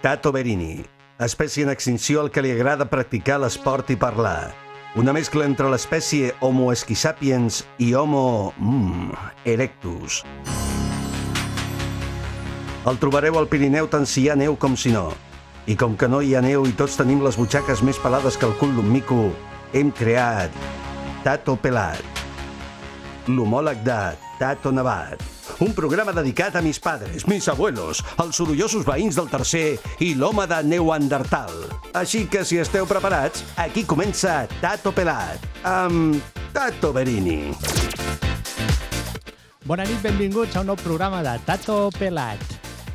Tato Berini, espècie en extinció al que li agrada practicar l'esport i parlar. Una mescla entre l'espècie Homo esquisapiens i Homo... Mm, erectus. El trobareu al Pirineu tant si hi ha neu com si no. I com que no hi ha neu i tots tenim les butxaques més pelades que el cul d'un mico, hem creat Tato Pelat, l'homòleg de Tato Nevat. Un programa dedicat a mis padres, mis abuelos, els sorollosos veïns del tercer i l'home de Neuandertal. Així que, si esteu preparats, aquí comença Tato Pelat, amb Tato Berini. Bona nit, benvinguts a un nou programa de Tato Pelat.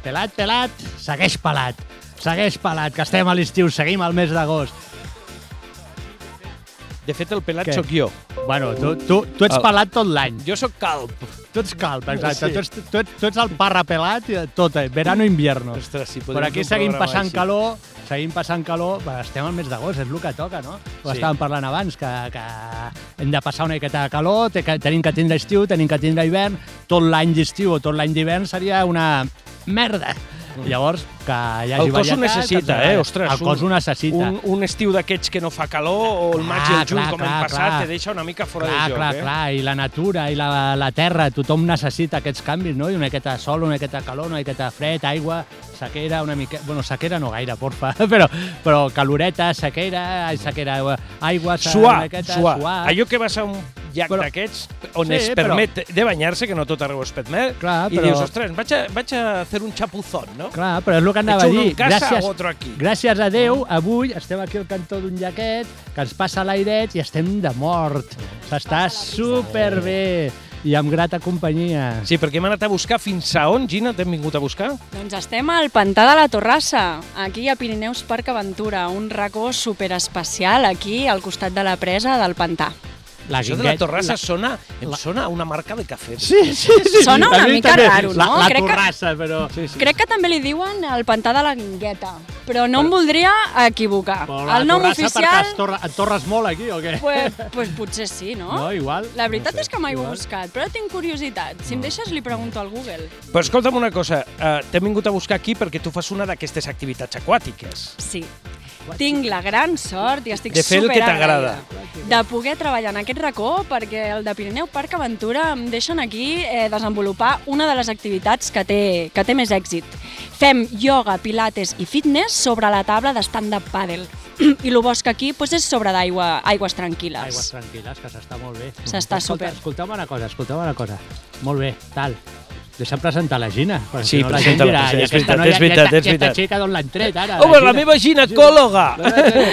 Pelat, pelat, segueix pelat. Segueix pelat, que estem a l'estiu, seguim al mes d'agost. De fet, el pelat Què? sóc jo. Bueno, tu, tu, tu ets El- pelat tot l'any. Jo sóc calp. Tu ets calp, exacte. Sí. Tu, ets, tu, ets, tu ets el parra pelat i tot, eh? verano i invierno. Ostres, si podem Per aquí fer un seguim programa passant així. calor, seguim passant calor, Bé, estem al mes d'agost, és el que toca, no? Ho Sí. estàvem parlant abans, que, que hem de passar una miqueta de calor, te- que tenim que tindre estiu, tenim que tindre hivern, tot l'any d'estiu o tot l'any d'hivern seria una merda. Llavors, que hi hagi Mm. El cos ho varietat, necessita, que- eh? Ostres, el cos ho necessita. Un, un estiu d'aquests que no fa calor, o el maig i Clar, el juny, clar, com clar, hem passat, clar. te deixa una mica fora clar, de joc. clar, eh? clar, i la natura, i la, la terra, tothom necessita aquests canvis, no? I una miqueta de sol, una miqueta de calor, una miqueta de fred, aigua, sequera, una mica... Bueno, sequera no gaire, porfa, però, però caloreta, sequera, ai, sequera, aigua, aigua sa- Suar, una miqueta, suar. suar. Allò que vas a un llac Però- d'aquests on Sí, es permet de banyar-se, que no tot arreu es permet, Clar, i però- dius, ostres, vaig a, vaig a fer un chapuzón, no? Clar, però és el que anava a Ets un dir. en casa, otro aquí. Mm. gràcies a Déu, avui estem aquí al cantó d'un jaquet, que ens passa l'airet i estem de mort. S'està superbé i amb grata companyia. Sí, perquè hem anat a buscar fins a on, Gina, t'hem vingut a buscar? Doncs estem al Pantà de la Torrassa, aquí a Pirineus Parc Aventura, un racó superespecial aquí al costat de la presa del Pantà. La Això de la guinguet- Torrassa sona, em sona a una marca de cafè. Sí, sí, sí. Sona una A mi mica també. raro, la, no? La Crec que- torrassa, però... Sí, sí. Crec que també li diuen el Pantà de la Guingueta, però no em voldria equivocar. Però la el nom torrassa Perquè oficial, es torra, et torres molt aquí, o què? pues, pues potser sí, no? No, igual. La veritat és que mai ho he igual. buscat, però tinc curiositat. Si em deixes, li pregunto al Google. Però escolta'm una cosa, eh, t'hem vingut a buscar aquí perquè tu fas una d'aquestes activitats aquàtiques. Sí. Tinc la gran sort i estic De fer el que t'agrada. superagraïda De poder treballar en aquest racó perquè el de Pirineu Parc Aventura em deixen aquí eh, desenvolupar una de les activitats que té, que té més èxit. Fem ioga, pilates i fitness sobre la taula de stand-up paddle. I el bosc aquí doncs, és sobre d'aigua, aigües tranquil·les. Aigües tranquil·les, que s'està molt bé. S'està Escolta, super. Escolta'm una cosa, escolta'm una cosa. Molt bé, tal. Deixa'm presentar la Gina. perquè Sí, si no la gent presenta-la, dirà, sí, "I és aquesta veritat, noia, és veritat, aquesta- és veritat." Aquesta xica d'on l'han tret, ara? Oh, la Gina?" Eh, meva ginecòloga!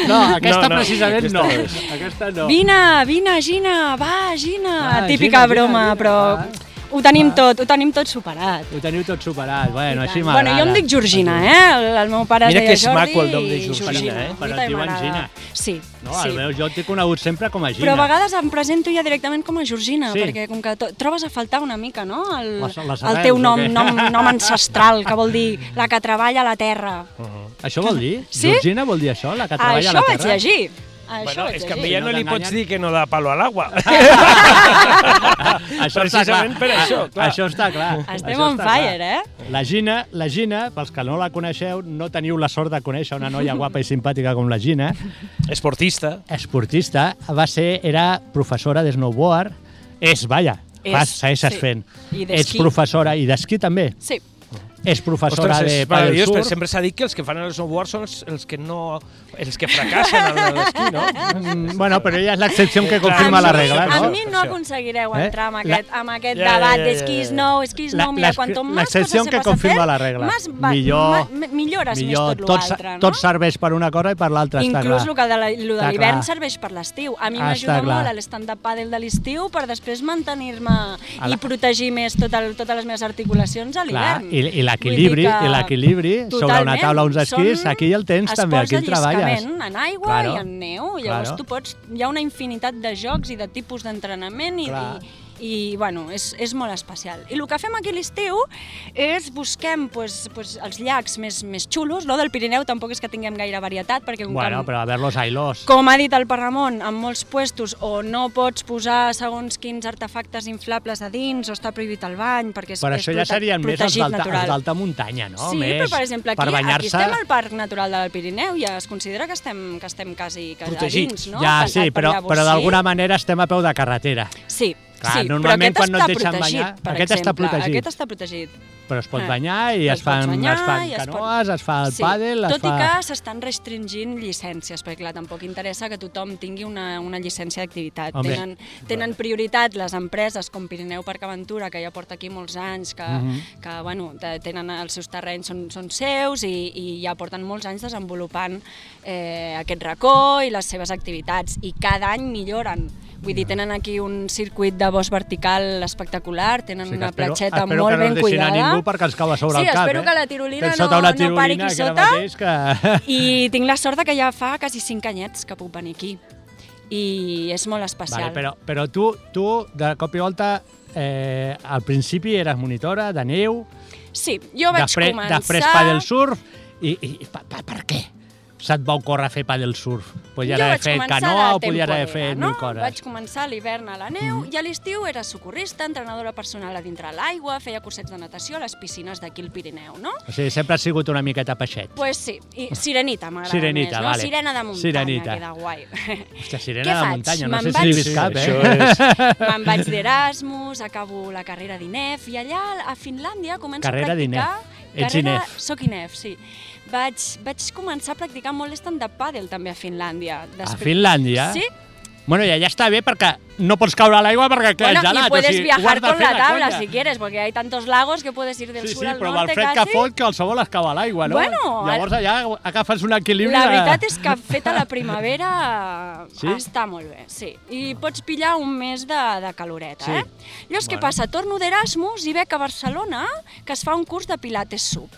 No, aquesta No, no, precisament aquesta no. no és. Aquesta no. Vine, vine, Gina, va, Gina. Va, Gina, Típica Gina, broma, Gina, però va. ho tenim Va. tot, ho tenim tot superat. Ho teniu tot superat. Bueno, I així tant. m'agrada. Bueno, jo em dic Georgina, eh? El, el meu pare Mira es que deia és Jordi maco el nom de i Georgina, eh? A mi Però et també diuen m'agrada. Gina. Sí, No, sí. el meu, jo et tinc conegut sempre com a Gina. Però a vegades em presento ja directament com a Georgina, Sí. perquè com que to- trobes a faltar una mica, no?, el, Les- les el arrels, teu o nom, què? nom, nom ancestral, que vol dir la que treballa a la terra. Això vol dir? Sí? Georgina vol dir això, la que treballa Això a la vaig terra? llegir. Això Bueno, vaig és que a llegir. ella Si no no li t'enganyen. pots dir que no da palo a l'aigua. Això està Ah, Precisament per això, clar. Això està clar. Estem Això on està clar. fire, eh? La Gina, la Gina, pels que no la coneixeu, no teniu la sort de conèixer una noia guapa i simpàtica com la Gina. Esportista. Esportista, va ser, era professora de snowboard. És, vaja, És, vas, segueixes sí. fent. I Ets d'esquí. professora, i d'esquí també. Sí. És professora és de paddle meravellós, perquè surf. sempre s'ha dit que els que fan el snowboard són els, els que no... els que fracassen a l'esquí, no? Mm, bueno, però ella és l'excepció que Amb confirma la mi- regla, no? A mi no Això. aconseguireu Eh? entrar amb La- aquest, amb aquest Ja, ja, debat ja, de ja, esquí ja. no, esquí La- no, mira, las- cuanto más l'excepció coses que sepas confirma hacer, la regla. Más va, Millor- ma- millores més tot, l'altre, sa- no? tot serveix per una cosa i per l'altra, està clar. Inclús el que de la- lo de Està l'hivern clar. serveix per l'estiu. A mi Ah, m'ajuda està clar. molt a l'stand-up paddle de l'estiu per després mantenir-me A la- i protegir més tot el, totes les meves articulacions a Clar, l'hivern. i, i l'equilibri, Vull i dir l'equilibri sobre una totalment, taula uns esquís, són aquí el tens també, esports aquí el de treballes. lliscament en aigua Claro. i en neu, llavors Claro. tu pots... Hi ha una infinitat de jocs i de tipus d'entrenament i, Clar. i, i bueno, és, és molt especial. I el que fem aquí l'estiu és busquem pues, pues, els llacs més, més xulos, no del Pirineu tampoc és que tinguem gaire varietat, perquè com, Bueno, que, però a ver los ailos. com ha dit el Parramon, en molts puestos o no pots posar segons quins artefactes inflables a dins o està prohibit el bany, perquè és, Per és això ja prote- serien més els protegit d'alta els natural. d'alta muntanya, no? sí, més, però per exemple, per aquí, aquí banyar-se- estem al Parc Natural del Pirineu i ja es considera que estem, que estem quasi, quasi a Protegits. dins, no? ja, Per- sí, per però, llavors, però sí. d'alguna manera estem a peu de carretera. Sí, Clar, sí, normalment però quan aquest no et està deixen protegit, banyar, per aquest està exemple. protegit. Aquest està protegit. Però es pot Ah. banyar i Es es, fan, pot banyar es fan i es pot- canoes, es, fa el sí. pàdel... Tot es fa... i que s'estan restringint llicències, perquè clar, tampoc interessa que tothom tingui una, una llicència d'activitat. Home. Tenen, tenen prioritat les empreses com Pirineu Parc Aventura, que ja porta aquí molts anys, que, Mhm. que bueno, te- tenen els seus terrenys, són, són seus i, i ja porten molts anys desenvolupant eh, aquest racó i les seves activitats, i cada any milloren. Vull dir, tenen aquí un circuit de bosc vertical espectacular, tenen O sigui que una espero, platxeta espero molt que no ben ens deixin cuidada. a ningú perquè els cau a sobre Sí, el cap. espero eh? que la tirolina Tens no- sota una no tirolina pari aquí que ara sota. mateix que... I tinc la sort de que ja fa quasi 5 anyets que puc venir aquí. I és molt especial. Vale, però, però tu, tu, de cop i volta, eh, al principi eres monitora de neu, Sí, jo vaig després, començar... després paddle surf, i, i, i pa, pa, per què se't va ocórrer fer paddle surf? Podies jo haver vaig fet començar canoa de o podies haver temporera, fet no? mil coses. Mhm. Vaig començar l'hivern a la neu i a l'estiu era socorrista, entrenadora personal a dintre l'aigua, feia cursets de natació a les piscines d'aquí al Pirineu, no? O sigui, sempre has sigut una miqueta peixet. Pues sí, i Sirenita m'agrada Ah. Sirenita, més, vale. no? Sirena de muntanya, Sirenita. queda guai. Hòstia, sirena Què de faig? muntanya, no Me'n sé si vaig? n'hi vis cap, això eh? és... Me'n vaig d'Erasmus, acabo la carrera d'INEF i allà a Finlàndia començo Carrera a practicar... d'INEF. Ets INEF. Soc INEF, sí. Vaig, vaig començar a practicar molt stand-up paddle també a Finlàndia. A Finlàndia? Sí, Bueno, i allà està bé perquè no pots caure a l'aigua perquè clar, és bueno, gelat. y puedes o sigui, ho has viajar de con fer la tabla conya. si quieres, porque hay tantos lagos que puedes ir del Sí, sur sí, al però amb norte el fred casi. que fot qualsevol es cau a l'aigua, no? Bueno, Llavors allà agafes un equilibri... La de- veritat és que fet a la primavera Sí? està molt bé, sí. I pots pillar un mes de, de caloreta, Sí. eh? Llavors, què Bueno. passa? Torno d'Erasmus i veig a Barcelona que es fa un curs de pilates sub.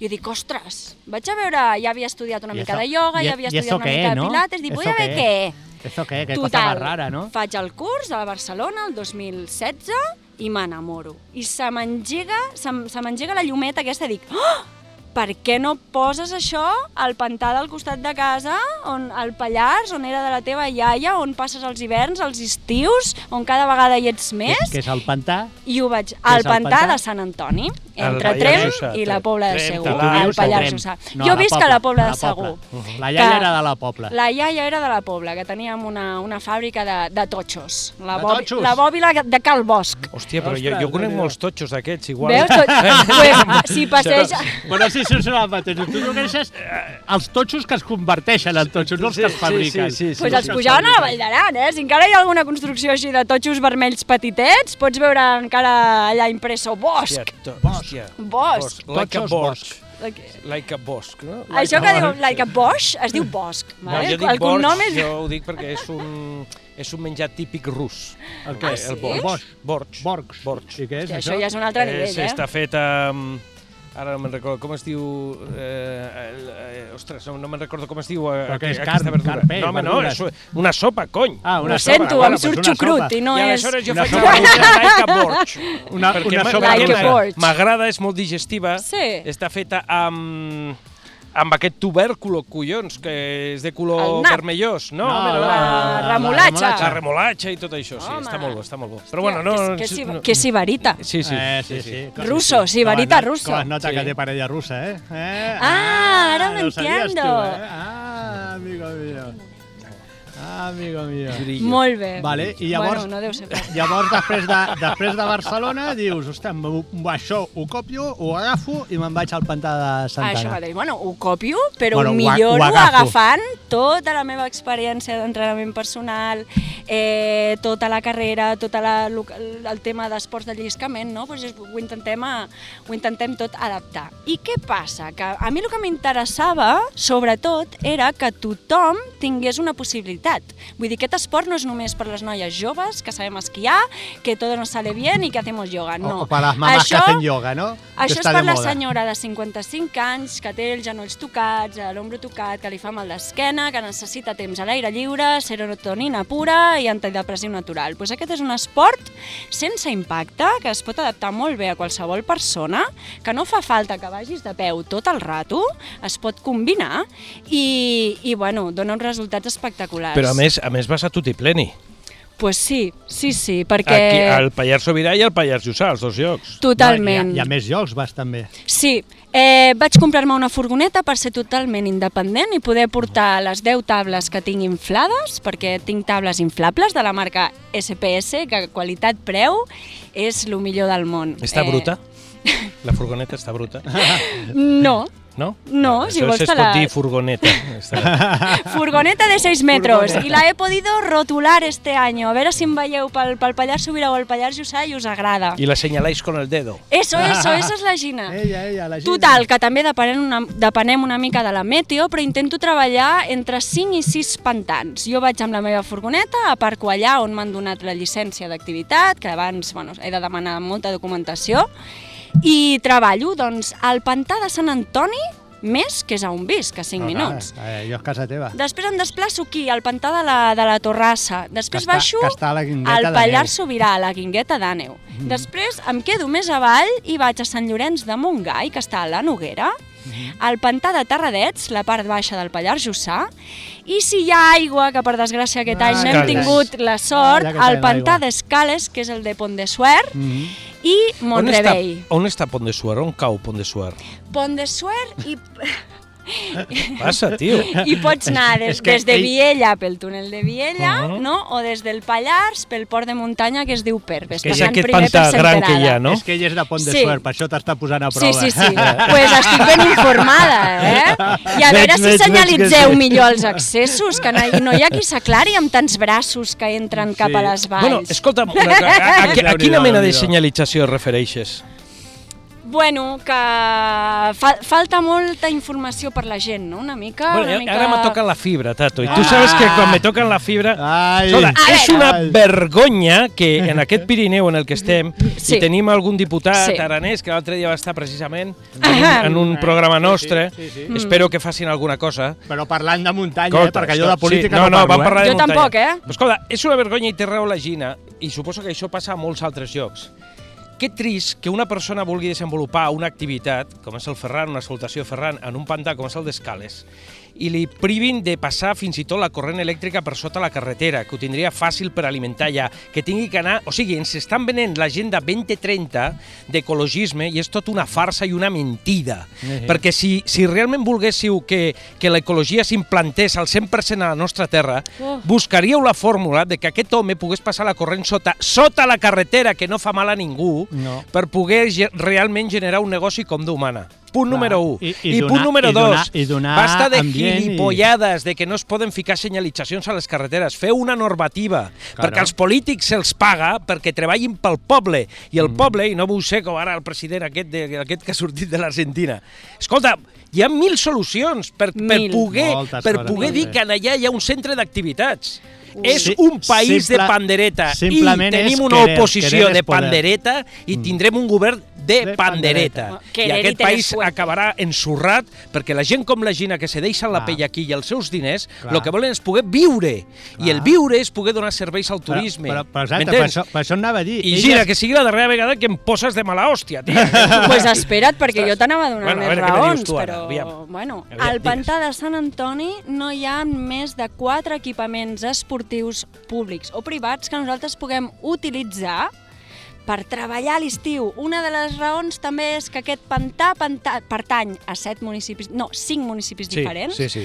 I dic, ostres, vaig a veure... Ja havia estudiat una I mica eso- de ioga, i- e- ja i havia eso estudiat una què, mica no? de pilates, dic, Eso vull a veure què? què. Eso què? Que cosa més rara, no? faig el curs a Barcelona el 2016 i m'enamoro. I se m'engega se, m- se m'engega la llumeta aquesta i dic oh, per què no poses això al pantà del costat de casa, on al Pallars, on era de la teva iaia, on passes els hiverns, els estius, on cada vegada hi ets Que, més? que és el pantà. I ho vaig és al el pantà, pantà? de Sant Antoni, Al entre Pallars Trem Jussà, i la Pobla de Trem, Segur, Talarn. al Vius Pallars Trem. Jussà. No, jo a visc a la Pobla de a la Segur. Pobla. La iaia que- era de la Pobla. La iaia era de la Pobla, que teníem una, una fàbrica de, de totxos. La, De bòbi- totxos? la bòbila de Cal Bosch. Hòstia, però jo, Ostres, jo conec Déu-n'hi-do. molts totxos d'aquests, igual. Veus? Tot, pues, si passeja... Bueno, sí, sí, són els mateixos. Tu coneixes eh, els totxos que es converteixen en totxos, no els que es fabriquen. Sí, sí, sí. Pues sí, els pujaven a la Vall d'Aran, eh? Si encara hi ha alguna construcció així de totxos vermells petitets, pots veure encara allà impresso Hòstia, Bosch. to- hòstia. Bosch. Like a Totxos Bosch. Like- Like a Bosch, no? Això que diu, like a Bosch, es diu Bosch. No, Vale? jo dic el cognom borsch, és... jo ho dic perquè és un, és un menjar típic rus. El què? Ah, sí? El borsch. Borsch. Borsch. Borgs. Borsch. I què és Hòstia, això? això ja és un altre nivell, sí, eh? Està fet amb... Ara no me'n recordo com es diu... Eh, el, eh, ostres, no, no me'n recordo com es diu eh, Però que és aqu- carn, carpell, no, home, no, verdures. és una sopa, cony. Ah, una Ho sento, sopa. em surt xucrut i no I és... aleshores jo una faig sopa la russa like a borch. Una- una sopa Like a russa. borch. M'agrada, és molt digestiva. Sí. Està feta amb amb aquest tubèrculo, collons, que és de El color nap. vermellós. No, No, home, la remolatxa. La remolatxa i tot això, sí, Home. està molt bo, està molt bo. Però bueno, no... Que, que, si- que sibarita. Sí, sí. Eh, sí, sí. Russo, Com sibarita es not- russo. Com es nota Sí. que té parella russa, eh? eh? Ah, ara ho ho sabies tu, entiendo. eh? Ah, amigo mío. Ah, amigo mío. Brillo. Molt bé. Vale, i llavors... eh, Bueno, no deu ser fàcil. Llavors, després de, després de Barcelona, dius, ostres, m- això ho copio, ho agafo i me'n vaig al pantà de Santana. Això mateix. Bueno, ho copio, però Bueno, ho ho a- milloro ho agafo. agafant tota la meva experiència d'entrenament personal, eh, tota la carrera, tot la, lo- el tema d'esports de lliscament, no? Pues és- ho, intentem a, ho intentem tot adaptar. I què passa? Que a mi el que m'interessava, sobretot, era que tothom tingués una possibilitat. tot. Vull dir, aquest esport no és només per les noies joves, que sabem esquiar, que todo nos sale bien i que hacemos yoga. No. O, o para las mamás Això- que hacen yoga, ¿no? Que Això és está de per la moda. senyora de 55 anys que té els genolls tocats, eh, l'ombro tocat, que li fa mal d'esquena, que necessita temps a l'aire lliure, serotonina pura i antidepressiu natural. Pues aquest és un esport sense impacte que es pot adaptar molt bé a qualsevol persona, que no fa falta que vagis de peu tot el rato, es pot combinar i, i bueno, dona uns resultats espectaculars. Però a més, a més vas a tutti pleni. Pues sí, sí, sí, perquè... Aquí, al Pallars Sobirà i al Pallars Jussà, els dos llocs. Totalment. No, I a, i a més jocs vas també. Sí, eh, vaig comprar-me una furgoneta per ser totalment independent i poder portar les 10 tables que tinc inflades, perquè tinc tables inflables de la marca SPS, que qualitat-preu és el millor del món. Està Eh, bruta? La furgoneta està bruta, No, no? No, si Això vols se'ls te la- pot dir furgoneta. Està... furgoneta de 6 metros i la he podido rotular este año. A veure si em veieu pel, pel Pallars Sobirà o el Pallars Jussà i us agrada. I la senyalais con el dedo. Eso, eso, eso és la Gina. Ella, ella, Eh, la gent. Total, que també depenem una, depenem una mica de la meteo, però intento treballar entre 5 i 6 pantans. Jo vaig amb la meva furgoneta, aparco allà on m'han donat la llicència d'activitat, que abans bueno, he de demanar molta documentació, i treballo doncs, al pantà de Sant Antoni, més que és a on visc, a 5 No, clar, minuts. eh, allò és casa teva. Després em desplaço aquí, al pantà de la, de la Torrassa. Després Que està- baixo que està a la Guingueta al d'Àneu. Mhm. Pallars Sobirà, a la Guingueta d'Àneu. Després em quedo més avall i vaig a Sant Llorenç de Montgai, que està a la Noguera, Mhm. al pantà de Tarradets, la part baixa del Pallars Jussà, i si hi ha aigua, que per desgràcia aquest Ah, any no hem Escales. tingut la Ah, ja sort, que al tenim pantà aigua. d'Escales, que és el de Pont de Suert, Mhm. i On està, Montrevell. on està Pont de Suar? On cau Pont de Suar? Pont de Suert i, Passa, tio. i pots anar des, És que des de ell- Viella, pel túnel de Viella, Mhm. no? o des del Pallars, pel port de muntanya que es diu Perves, Que hi ha passant aquest primer per pantà gran que hi ha, Senterada. no? És que ella és de Pont de Sí. Suert, per això t'està posant a Sí, prova. sí, sí. pues estic ben informada, eh? I Veig, a veure veig, si veig que senyalitzeu sí. millor els accessos, que no hi, no hi ha qui s'aclari amb tants braços que entren cap a les valls. Bueno, escolta'm, una altra, a, a, a, a Déu-n'hi-do, quina mena de Déu-n'hi-do. senyalització es refereixes? Bueno, que fa falta molta informació per la gent, no? Una mica... Bueno, Ah, una mica... ara me toca la fibra, Tato, i tu Ah. sabes que quan me toquen la fibra... Ai. Escolta, A és veure. una vergonya que en aquest Pirineu en el que estem Sí. i tenim algun diputat Sí. aranès que l'altre dia va estar precisament en un, Ahem. en un programa nostre. sí, sí. Mm. Espero que facin alguna cosa. Però parlant de muntanya, eh, Escolta, perquè jo de escolta, política sí, no, no, parlo, no, vam parlar eh? de Jo muntanya. tampoc, eh? Però Escolta, és una vergonya i té raó la Gina, i suposo que això passa a molts altres llocs. Que trist que una persona vulgui desenvolupar una activitat, com és el Ferran, una salutació Ferran, en un pantà com és el d'Escales, i li privin de passar fins i tot la corrent elèctrica per sota la carretera, que ho tindria fàcil per alimentar allà, que tingui que anar... O sigui, ens estan venent l'agenda 2030 d'ecologisme i és tot una farsa i una mentida. Mhm. Perquè si, si realment volguéssiu que, que l'ecologia s'implantés al 100% a la nostra terra, Oh. buscaríeu la fórmula de que aquest home pogués passar la corrent sota sota la carretera, que no fa mal a ningú, No. per poder ge realment generar un negoci com Déu mana. Punt Clar. número 1. I- i donar- punt número i donar- 2. i donar Basta de ambient i- gilipollades, de que no es poden ficar senyalitzacions a les carreteres. Feu una normativa, Claro. perquè als polítics se'ls paga perquè treballin pel poble. I Mm. el poble, i no vull ser com ara el president aquest, de, aquest que ha sortit de l'Argentina. Escolta, hi ha mil solucions per, per Mil. poder, Moltes per coses, poder dir sí. que en allà hi ha un centre d'activitats. És Sí, un país simple- de pandereta i simplement és tenim una querer, oposició querer de és poder. pandereta i tindrem un govern de, De pandereta. pandereta. I Querer i aquest tener país suerte. acabarà ensorrat perquè la gent com la Gina que se deixa la Clar. pell aquí i els seus diners, Clar. el que volen és poder viure. I el Clar. viure és poder donar serveis al turisme. Però, però, però exacte, per M'entens? això, per això anava a dir. I Ella Gina, és- que sigui la darrera vegada que em poses de mala hòstia, tio. pues espera't, perquè jo t'anava a donar Bueno, a més veure què me dius raons, tu ara, però... aviam. Bueno, Aviam, al digues. pantà de Sant Antoni no hi ha més de quatre equipaments esportius públics o privats que nosaltres puguem utilitzar per treballar a l'estiu. Una de les raons també és que aquest pantà, pantà pertany a set municipis, no, cinc municipis diferents, sí, sí.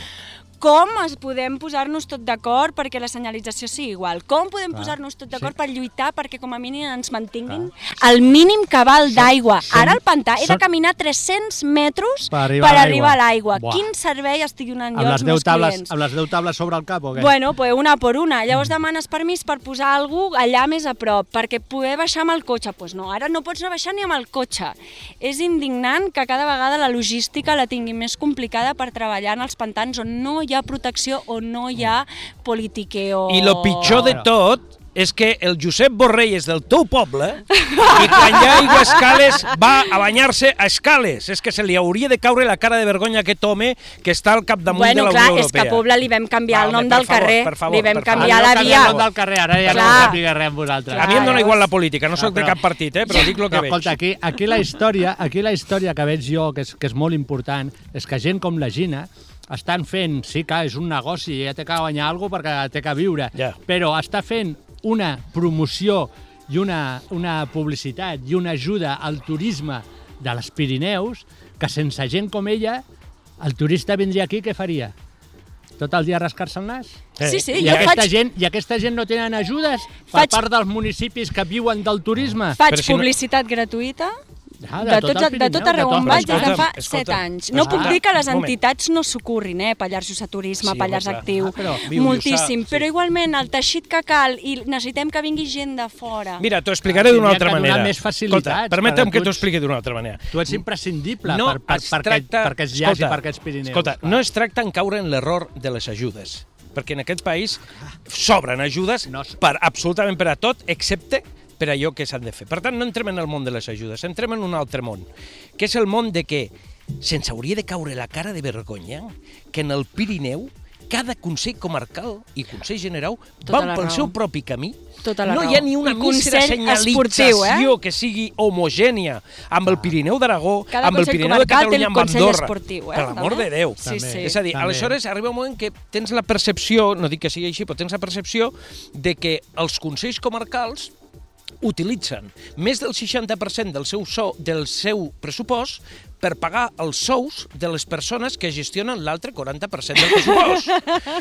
com es podem posar-nos tot d'acord perquè la senyalització sigui igual? Com podem posar-nos tot d'acord sí. per lluitar perquè com a mínim ens mantinguin el mínim cabal d'aigua? som- Ara al pantà he de som- caminar 300 metres Per per arribar a l'aigua. arribar a l'aigua. Buah. Quin servei estic donant amb jo les als 10 meus tables, clients? amb les 10 tables sobre el cap o què? Bueno, pues una por una. Llavors Mm. demanes permís per posar algú allà més a prop, perquè poder baixar amb el cotxe. Pues no, ara no pots anar baixar ni amb el cotxe. És indignant que cada vegada la logística la tingui més complicada per treballar en els pantans on no hi hi ha protecció o no hi ha politiqueo. I lo pitjor de tot és que el Josep Borrell és del teu poble i quan hi ha aigua a escales va a banyar-se a escales. És que se li hauria de caure la cara de vergonya a aquest home que està al capdamunt Bueno, de la clar, Unió és que Europea. a Pobla li vam canviar Va, el nom home, per del favor, carrer, per favor, li vam per favor. canviar Ah, no la canvia via. el nom del carrer, ara ja Clar. no sàpiga res amb vosaltres. A mi em Clar, dona llavors- igual la política, no sóc de cap partit, eh, però dic el però, que veig. escolta, aquí, aquí la història, aquí la història que veig jo, que és, que és molt important, és que gent com la Gina estan fent, sí que és un negoci, ella té que guanyar alguna perquè té que viure, Ja. però està fent una promoció i una, una publicitat i una ajuda al turisme de les Pirineus que sense gent com ella el turista vindria aquí, què faria? Tot el dia rascar-se el nas? Sí, Eh, sí, I jo aquesta, faig- gent, I aquesta gent no tenen ajudes per Faig- part dels municipis que viuen del turisme? Faig Però si no- publicitat gratuïta Ah, de, tot, el de Pirineu, tot arreu on però vaig des de escolta'm, Escolta, fa escolta'm, 7 anys. però No escolta, puc dir que les un moment. entitats no s'ocorrin, eh? Pallars Jussà Turisme, Sí, Pallars home, clar. Actiu, Ah, però viu, moltíssim. Jussà, sí. Però igualment, el teixit que cal, i necessitem que vingui gent de fora. Mira, t'ho explicaré d'una Tindria altra que donar manera. més facilitats, Escolta, permetem perquè que tu t'ho ets- expliqui d'una altra manera. tu ets imprescindible no per, per, es per, aquest, tracta... per aquests llacs escolta, i per aquests Pirineus. Escolta, clar. no es tracta en caure en l'error de les ajudes, perquè en aquest país s'obren ajudes No es- per absolutament per a tot, excepte per allò que s'han de fer. Per tant, no entrem en el món de les ajudes, entrem en un altre món, que és el món de que se'ns hauria de caure la cara de vergonya que en el Pirineu cada Consell Comarcal i Consell General Tota van la pel raó. seu propi camí. Tota la no raó. hi ha ni una I mísera Consell esportiu, senyalització eh? que sigui homogènia amb el Pirineu d'Aragó, Cada amb el consell Pirineu de comarcal té Catalunya, el amb consell Andorra. esportiu, eh, Per l'amor també. de Déu. Sí, També, sí. És a dir, també. aleshores arriba un moment que tens la percepció, no dic que sigui així, però tens la percepció de que els consells comarcals utilitzen més del 60% del seu, sou, del seu pressupost per pagar els sous de les persones que gestionen l'altre 40% del pressupost.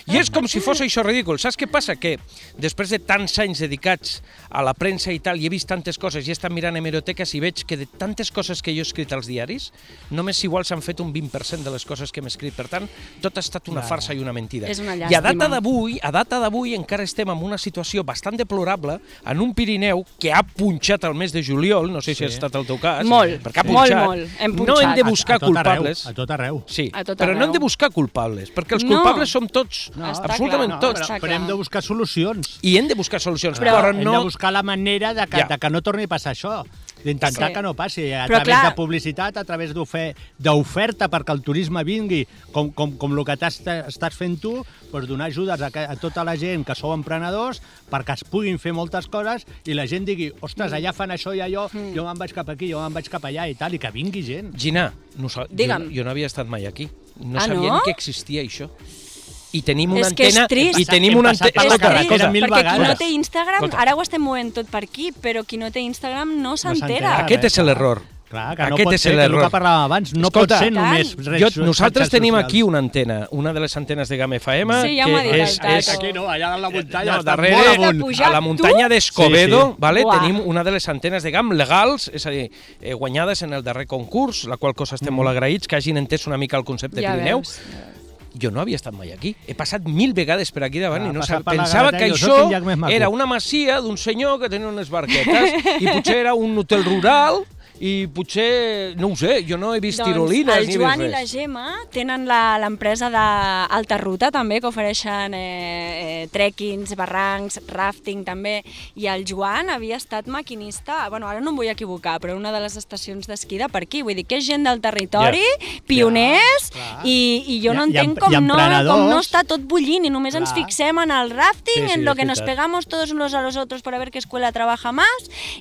I és com si fos això ridícul. Saps què passa? Que després de tants anys dedicats a la premsa i tal, i he vist tantes coses, i he estat mirant hemeroteques i veig que de tantes coses que jo he escrit als diaris, només igual s'han fet un 20% de les coses que hem escrit. Per tant, tot ha estat una farsa i una mentida. És una I a data llàstima. d'avui avui, a data d'avui, encara estem en una situació bastant deplorable en un Pirineu que ha punxat el mes de juliol, no sé si Sí. ha estat el teu cas, Molt, perquè ha sí. punxat. Molt, molt, hem No hem punxat. de buscar a, a tot culpables. Arreu, a tot arreu. Sí, A tot però no hem arreu. de buscar culpables, perquè els No. culpables som tots, No, està absolutament clar, no, tots. està Però, però hem de buscar solucions. I hem de buscar solucions, Però- però, Hem no... de buscar la manera de que, Ja. de que no torni a passar això d'intentar Sí. que no passi, a Però, través clar- de publicitat, a través d'ofe- d'oferta perquè el turisme vingui, com, com, com el que t'has- estàs fent tu, doncs donar ajudes a, ca- a tota la gent que sou emprenedors perquè es puguin fer moltes coses i la gent digui, ostres, allà fan això i allò, Mm. jo me'n vaig cap aquí, jo me'n vaig cap allà i tal, i que vingui gent. Gina, no, sa- jo, Digue'm. jo no havia estat mai aquí. No Ah, sabien no? que existia això. I tenim una És que és antena... trist. I tenim Hem una passat antena... per la és carretera trist, mil perquè qui no vegades. té Instagram, Escolta. ara ho estem movent tot per aquí, però qui no té Instagram no s'entera. s'entera. Aquest és l'error. Clar, que no Aquest pot és ser, que és el l'error. que parlàvem abans, no Escolta, pot ser només tant. res- Jo, nosaltres xarxes tenim socials. aquí una antena, una de les antenes de Game FM, Sí, ja m'ho ha dit que el és, Tato. és Aquí no, allà a la muntanya, no, està molt darrere, amunt. a la muntanya d'Escobedo, Sí, sí. vale, Uah. tenim una de les antenes de GAM legals, és a dir, eh, guanyades en el darrer concurs, la qual Mm. cosa estem molt agraïts, que hagin entès una mica el concepte Ja Pirineu. veus. Jo no havia estat mai aquí. He passat mil vegades per aquí davant Ah, i no passar sab... per la pensava que Garrotella, jo això sóc el llac més maco. era una masia d'un senyor que tenia unes barquetes i potser era un hotel rural i potser, no ho sé, jo no he vist tirolines Doncs el ni he vist Joan i res. la Gemma tenen la- l'empresa d'Alta Ruta també, que ofereixen eh, eh, trekkings, barrancs, rafting també, i el Joan havia estat maquinista, bueno, ara no em vull equivocar, però en una de les estacions d'esquí de per aquí, vull dir que és gent del territori, pioners, clar. i, i jo I- no i em- entenc com i no, com no emprenedors. està tot bullint i només ens Clar. fixem en el rafting, Sí, sí, en lo és que nos veritat. pegamos todos unos a los otros para ver qué escuela trabaja más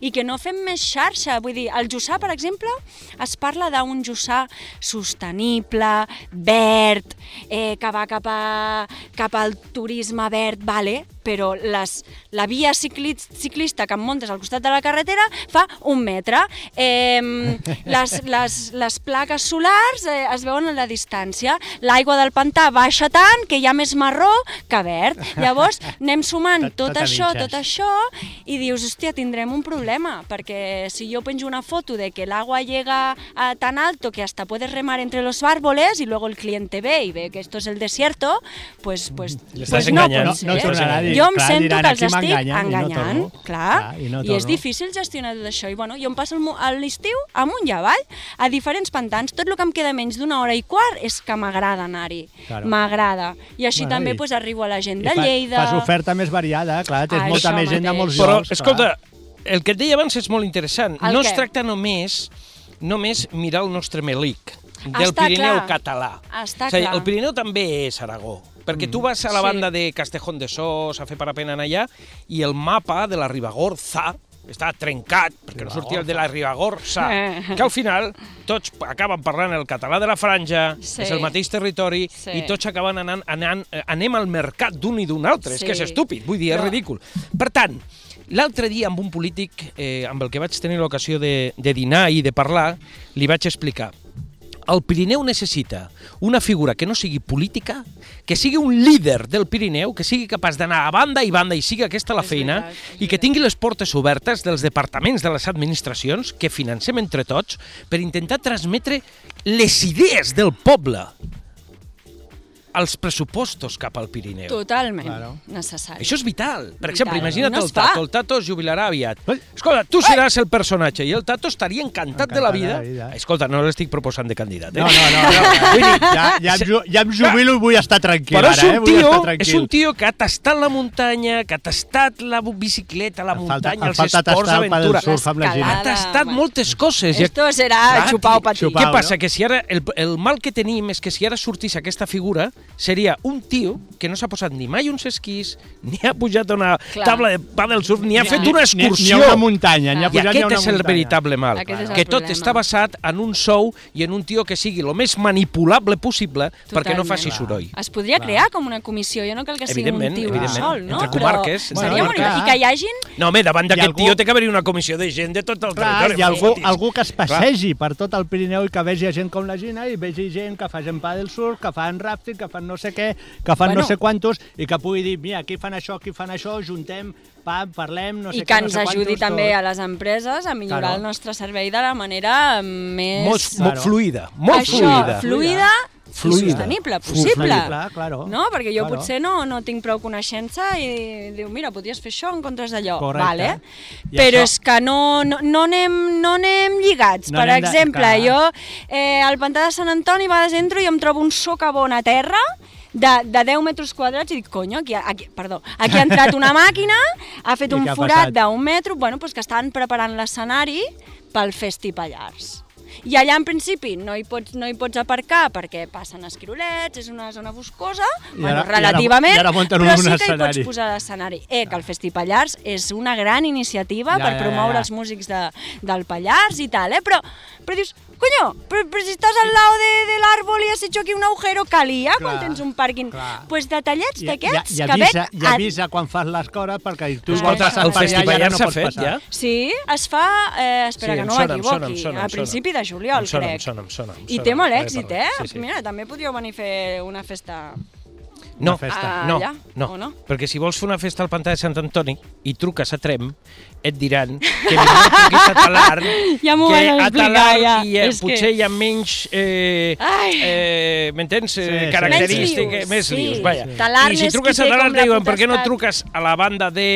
i que no fem més xarxa. Vull dir, el Jussà, per exemple, es parla d'un Jussà sostenible, verd, eh, que va cap, a, cap al turisme verd, vale, però les, la via cicli, ciclista que em muntes al costat de la carretera fa un metre. Eh, les, les, les plaques solars eh, es veuen a la distància. L'aigua del pantà baixa tant que hi ha més marró que verd. Llavors anem sumant Tot- tot, tot tot a això, mitges. tot això, i dius, hòstia, tindrem un problema, perquè si jo penjo una foto de que el agua llega a tan alto que hasta puedes remar entre los árboles y luego el cliente ve y ve que esto es el desierto, pues, pues, Le estás pues no engañant. pot No, ser. no eh? tornarà a dir, jo em clar, sento diran, que els "Aquí estic m'enganyen", i no enganyant, torno. clar, Clar, i no i és torno. difícil gestionar tot això, i bueno, jo em passo el mo- a l'estiu amunt i avall, a diferents pantans, tot el que em queda menys d'una hora i quart és que m'agrada anar-hi, Claro. m'agrada, i així Bueno, també i- pues, arribo a la gent I de fa- Lleida, Fas oferta més variada, clar, tens Això molta més gent de mateix. molts Però, llocs. escolta, el que et deia abans és molt interessant. El no què? es tracta només només mirar el nostre melic del Està Pirineu clar. català. Està o sigui, clar. El Pirineu també és Aragó, perquè tu vas a la Sí. banda de Castejón de Sos, a fer parapent anar allà, i el mapa de la Ribagorza està trencat, perquè no sortia el de la Ribagorza, Eh. que al final tots acaben parlant el català de la franja, Sí. és el mateix territori, Sí. i tots acaben anant, anant, eh, anem al mercat d'un i d'un altre, és que és Sí. estúpid, vull dir, és No. ridícul. Per tant, l'altre dia amb un polític eh, amb el que vaig tenir l'ocasió de, de dinar i de parlar, li vaig explicar el Pirineu necessita una figura que no sigui política, que sigui un líder del Pirineu, que sigui capaç d'anar a banda i banda i sigui aquesta la És feina veritat, és i que veritat. tingui les portes obertes dels departaments de les administracions que financem entre tots per intentar transmetre les idees del poble als pressupostos cap al Pirineu. totalment Claro. necessari. Això és vital. Per Vital. exemple, imagina't No es el Tato. fa. El Tato es jubilarà aviat. Ai. Escolta, tu seràs el personatge i el Tato estaria Encantat encantat, de la de vida. la vida. Escolta, no l'estic proposant de candidat, eh? No, no, no. no. Vull dir, ja, ja, em, ju- ja em jubilo i vull estar tranquil. Però és ara, eh? un, Vull tio, estar és tranquil. un tio que ha tastat la muntanya, que ha tastat la bu- bicicleta, la Em falta- muntanya, em els falta esports, tastar el pal aventura... del surf amb la Escalada. Gina. Ha tastat Bueno. moltes coses. i- Esto serà Clar, xupar o i- patir. xupar. Què passa? no? Que si ara el, el mal que tenim és que si ara sortís aquesta figura seria un tio que no s'ha posat ni mai uns esquís, ni ha pujat a una Clar. tabla de pàdel surf, ni ha Ni- fet una Ni- excursió. Ni a una muntanya, ni a I I pujar ni a aquest una és el muntanya. veritable mal, Aquest és el que tot problema. està basat en un sou i en un tio que sigui el més manipulable possible perquè no Totalment. Ah. faci Clar. soroll. Es podria crear com una comissió, jo no cal que sigui un Evidentment, tio evidentment. sol, no? Entre comarques, Però entre seria molt... comarques. I que hi hagin... No, home, davant d'aquest algú- tio té que haver-hi una comissió de gent de tot el Clar, territori. hi ha algú, fotis. algú que es passegi per tot el Pirineu i que vegi a gent com la Gina i vegi gent que fa gent del surf, que fan rafting, que fan no sé què, que fan Bueno. no sé quantos i que pugui dir, mira, aquí fan això, aquí fan això, juntem, pam, parlem, no sé I què, que no ens sé ajudi quantos, també tot. a les empreses a millorar Claro. el nostre servei de la manera més... Molt, Claro. molt fluida, molt això, fluida. fluida, Fluida. i sostenible, Fluida. possible. Clar, claro. No? Perquè jo Claro. potser no, no tinc prou coneixença i diu, mira, podries fer això en comptes d'allò. Correcte. Vale. I Però això- és que no, no, no, anem, no anem lligats. No per anem de- exemple, clar. jo eh, al pantà de Sant Antoni a vegades entro i em trobo un socavón a terra de, de 10 metres quadrats i dic, conyo, aquí, ha- aquí, perdó, aquí ha entrat una màquina, ha fet I un què ha forat passat? d'un metro, bueno, doncs que estan preparant l'escenari pel Festi Pallars. I allà, en principi, no hi pots, no hi pots aparcar perquè passen esquirolets, és una zona boscosa, I bueno, ara- i ara- relativament, i ara munten però un sí que hi escenari. pots posar l'escenari. Eh, que el Festi Pallars és una gran Ja, iniciativa per ja, ja, promoure ja. els músics de, del Pallars i tal, eh? Però, però dius, coño, però, però si estàs al lado de, de l'àrbol i has hecho aquí un agujero, calia clar, quan Clar, tens un pàrquing. clar. Doncs pues detallets I- d'aquests i, i que ven avisa, I a- avisa quan fas les coses perquè tu Doncs Escolta, vols passar el per allà i ara festival no s'ha pots fet, passar. ja? Sí, es fa, eh, espera Sí, que em no sona, em sona, em m'equivoqui, sona, em a sona. principi de juliol, Em sona, em crec. sona, em sona, em I sona, té molt ja he èxit, eh? parlat, sí, sí. Mira, també podríeu venir a fer una festa... No, Una festa. Ah, no, allà, no, o no, no? perquè si vols fer una festa al pantà de Sant Antoni i truques a Trem, et diran que vinguis a Talar, Ja m'ho que van a explicar, Talar ja. hi ha, És que- potser hi ha menys, eh, Ai. eh, m'entens, sí, Sí, sí. característiques, Menys més lius, lius, sí. vaja. Talarn I si és truques qui a té Talar, com la diuen, per què no potestat." truques a la banda de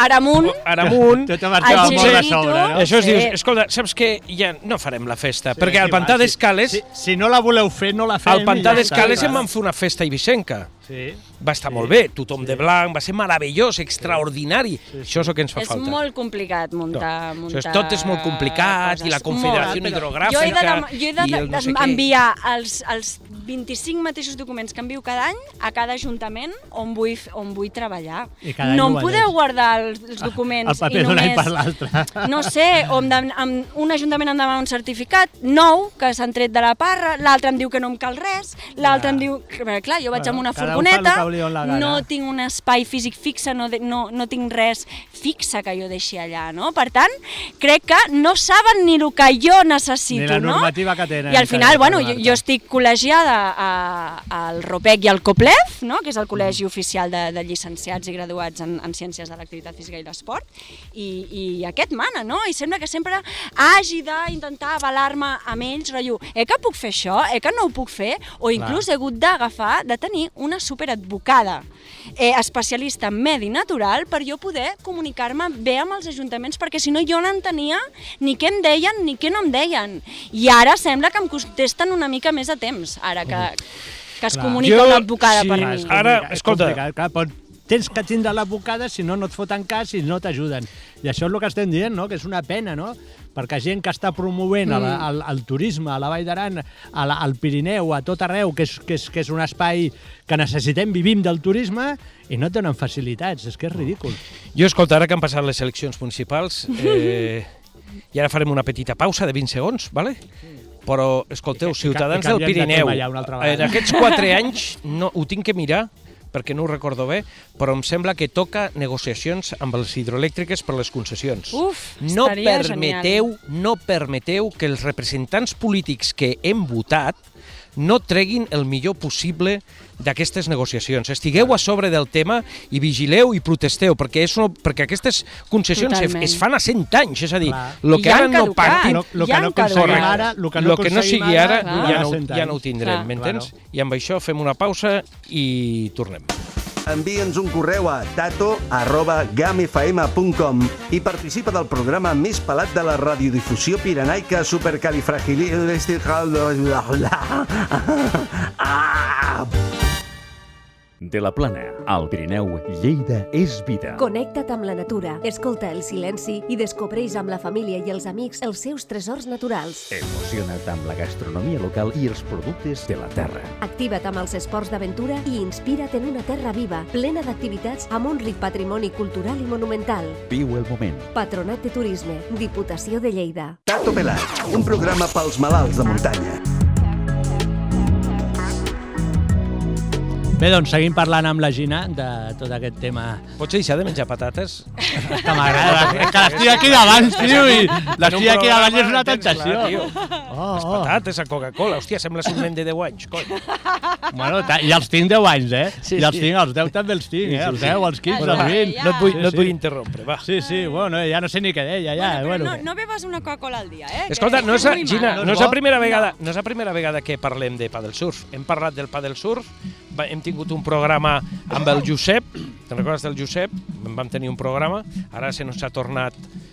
Ara amunt... Aramunt? Tot a marxar El molt a Chiringuito. sobre, no? eh? Això es Sí. dius, escolta, saps què? Ja no farem la festa, Sí, perquè al sí, pantà va, sí. d'Escales, Si, si no la voleu fer, no la fem. al pantà i ja està, d'Escales clar. em van fer una festa ibisenca. Sí. Va estar Sí, molt bé, tothom de blanc, va ser meravellós, extraordinari. Això és el que ens fa És falta. molt complicat muntar... No. Això muntar és- tot és molt complicat, i la coses. Confederació Molt, però- Hidrogràfica... Jo he de, dem- jo he de, i el no sé què. enviar els, els 25 mateixos documents que envio cada any a cada ajuntament on vull, f- on vull treballar. I cada any No ho em guanyes. podeu guardar els, els documents El paper i d'un any només... per l'altre. No sé, o em dem, em, un ajuntament em demana un certificat nou que s'han tret de la parra, l'altre em diu que no em cal res, l'altre Ja. em diu... Perquè, clar, jo vaig Bueno, amb una cada un fa el furgoneta, que li dona la gana. no tinc un espai físic fixe, no, de, no, no tinc res fixe que jo deixi allà, no? Per tant, crec que no saben ni el que jo necessito, Ni la no? normativa que tenen, I al que final, bueno, jo, recordar-te. jo estic col·legiada a, al ROPEC i al COPLEF, no? que és el col·legi Mm. oficial de, de llicenciats i graduats en, en Ciències de l'Activitat Física i l'Esport, i, i aquest mana, no? I sembla que sempre hagi d'intentar avalar-me amb ells, rotllo, eh que puc fer això, eh que no ho puc fer, o inclús he hagut d'agafar, de tenir una superadvocada eh, especialista en medi natural, per jo poder comunicar-me bé amb els ajuntaments, perquè si no jo no entenia ni què em deien ni què no em deien. I ara sembla que em contesten una mica més a temps, ara que, que es Clar. comunica Mm. Jo, una advocada sí, per Clar, mi. és ara- complicat, és escolta. complicat, Clar, però tens que tindre l'advocada si no, no et foten cas i no t'ajuden. I això és el que estem dient, no? que és una pena, no? perquè gent que està promovent mm. el, el, el turisme a la Vall d'Aran, a la- al Pirineu, a tot arreu, que és, que, és, que és un espai que necessitem, vivim del turisme, i no et donen facilitats, és que és ridícul. Jo, escolta, ara que han passat les eleccions municipals, eh, i ara farem una petita pausa de 20 segons, vale? però, escolteu, I ca- i ca- ciutadans i del canviem de Pirineu, eh, tema ja una altra en vegada. aquests 4 anys, no, ho tinc que mirar, perquè no ho recordo bé, però em sembla que toca negociacions amb les hidroelèctriques per les concessions. Uf, no estaria permeteu, no permeteu que els representants polítics que hem votat no treguin el millor possible d'aquestes negociacions. Estigueu a sobre del tema i vigileu i protesteu, perquè, és una, perquè aquestes concessions es, Totalment. es fan a 100 anys, és a dir, Clar. el que I ja ara han no caducat. pactin, Lo, lo Ja que han no aconseguim caducat. ara, lo que no, el que no aconseguim sigui ara, clar. ja, no, durarà ja no ho 100 anys. tindrem, Clar. m'entens? I amb això fem una pausa i tornem. Envia'ns un correu a tato arroba gamfm.com i participa del programa més pelat de la radiodifusió piranaica supercalifragilistical... De la Plana, al Pirineu, Lleida és vida. Connecta't amb la natura, escolta el silenci i descobreix amb la família i els amics els seus tresors naturals. Emociona't amb la gastronomia local i els productes de la terra. Activa't amb els esports d'aventura i inspira't en una terra viva, plena d'activitats amb un ric patrimoni cultural i monumental. Viu el moment. Patronat de Turisme, Diputació de Lleida. Tato Pelat, un programa pels malalts de muntanya. Bé, doncs seguim parlant amb la Gina de tot aquest tema Pots deixar de menjar patates? que m'agrada. És que l'estic aquí davant, tio, i l'estic aquí davant i és una tentació. Clar, tio. Oh, Les patates a Coca-Cola, hòstia, sembles un nen de 10 anys, cony. Bueno, ta- i els tinc 10 anys, eh? Sí, I els sí. tinc, els 10 també els tinc, eh? Els 10, els 15, Bueno, els va, 20. ja. Ah, No et vull, no Sí, et vull sí. interrompre, va. Sí, sí, bueno, ja no sé ni què deia, ja. bueno, però bueno, no, no bebes una Coca-Cola al dia, eh? que Escolta, no és, la, muy mala. Gina, No és no és la bo? primera vegada, no és la primera vegada que parlem de paddle surf. Hem parlat del paddle surf, va- hem tingut un programa amb el Josep, te'n recordes del Josep? En vam tenir un programa, ara se nos ha tornat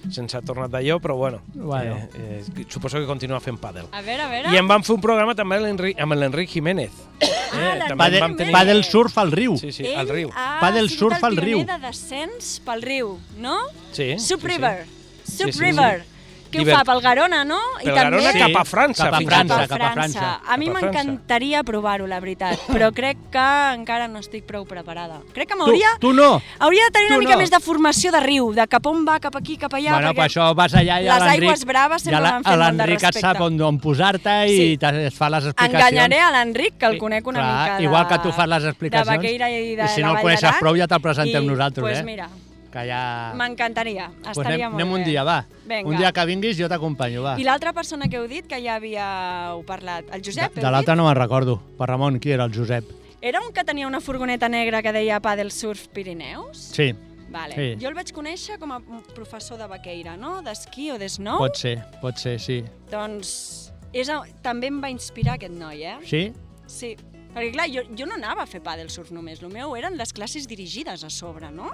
se'ns ha tornat d'allò, però bueno, Bueno. Eh, eh, suposo que continua fent pàdel. A veure, a veure... Ah, I en vam fer un programa també amb l'Enri- amb l'Enric Jiménez. Eh, l'Enric també en vam Padel, tenir... padel surf al riu. Sí, sí, al riu. ha Paddle sigut surf el al riu. pioner de descens pel riu, no? Sí, Sub sí, sí. River. Sub Sí, sí, River. Què ho Divert- fa? Pel Garona, no? Pel Garona Sí, cap a França, cap a fins i França, tot. cap a França. A mi Cap a França. m'encantaria provar-ho, la veritat, però crec que encara no estic prou preparada. Crec que Tu, m'hauria... tu no. Hauria de tenir una tu mica no. més de formació de riu, de cap on va, cap aquí, cap allà, bueno, per perquè... això vas allà i a les l'Enric... aigües braves sempre i a la- m'han fet a molt de L'Enric et sap respecte. on, on posar-te i Sí. te- et fa les explicacions. Enganyaré a l'Enric, que el Sí, conec una clar, mica de, igual que tu fas les explicacions, de Baqueira i de i si la no el Vall coneixes d'Aran, prou ja te'l presentem i, nosaltres, pues eh? mira, Que ja... m'encantaria, estaria Pues anem, molt anem bé. un dia, va. Vinga. Un dia que vinguis jo t'acompanyo, va. I l'altra persona que heu dit, que ja havíeu parlat, el De, Josep, heu de dit? l'altre no me'n recordo. Per Ramon, qui era el Josep? Era un que tenia una furgoneta negra que deia Padel Surf Pirineus? Sí, Vale. Sí. Jo el vaig conèixer com a professor de vaqueira, no? D'esquí o d'esnou. pot ser, pot ser, sí. Doncs és, a- també em va inspirar aquest noi, eh? Sí? Sí. Perquè, clar, jo, jo no anava a fer pàdel surf només. El meu eren les classes dirigides a sobre, no?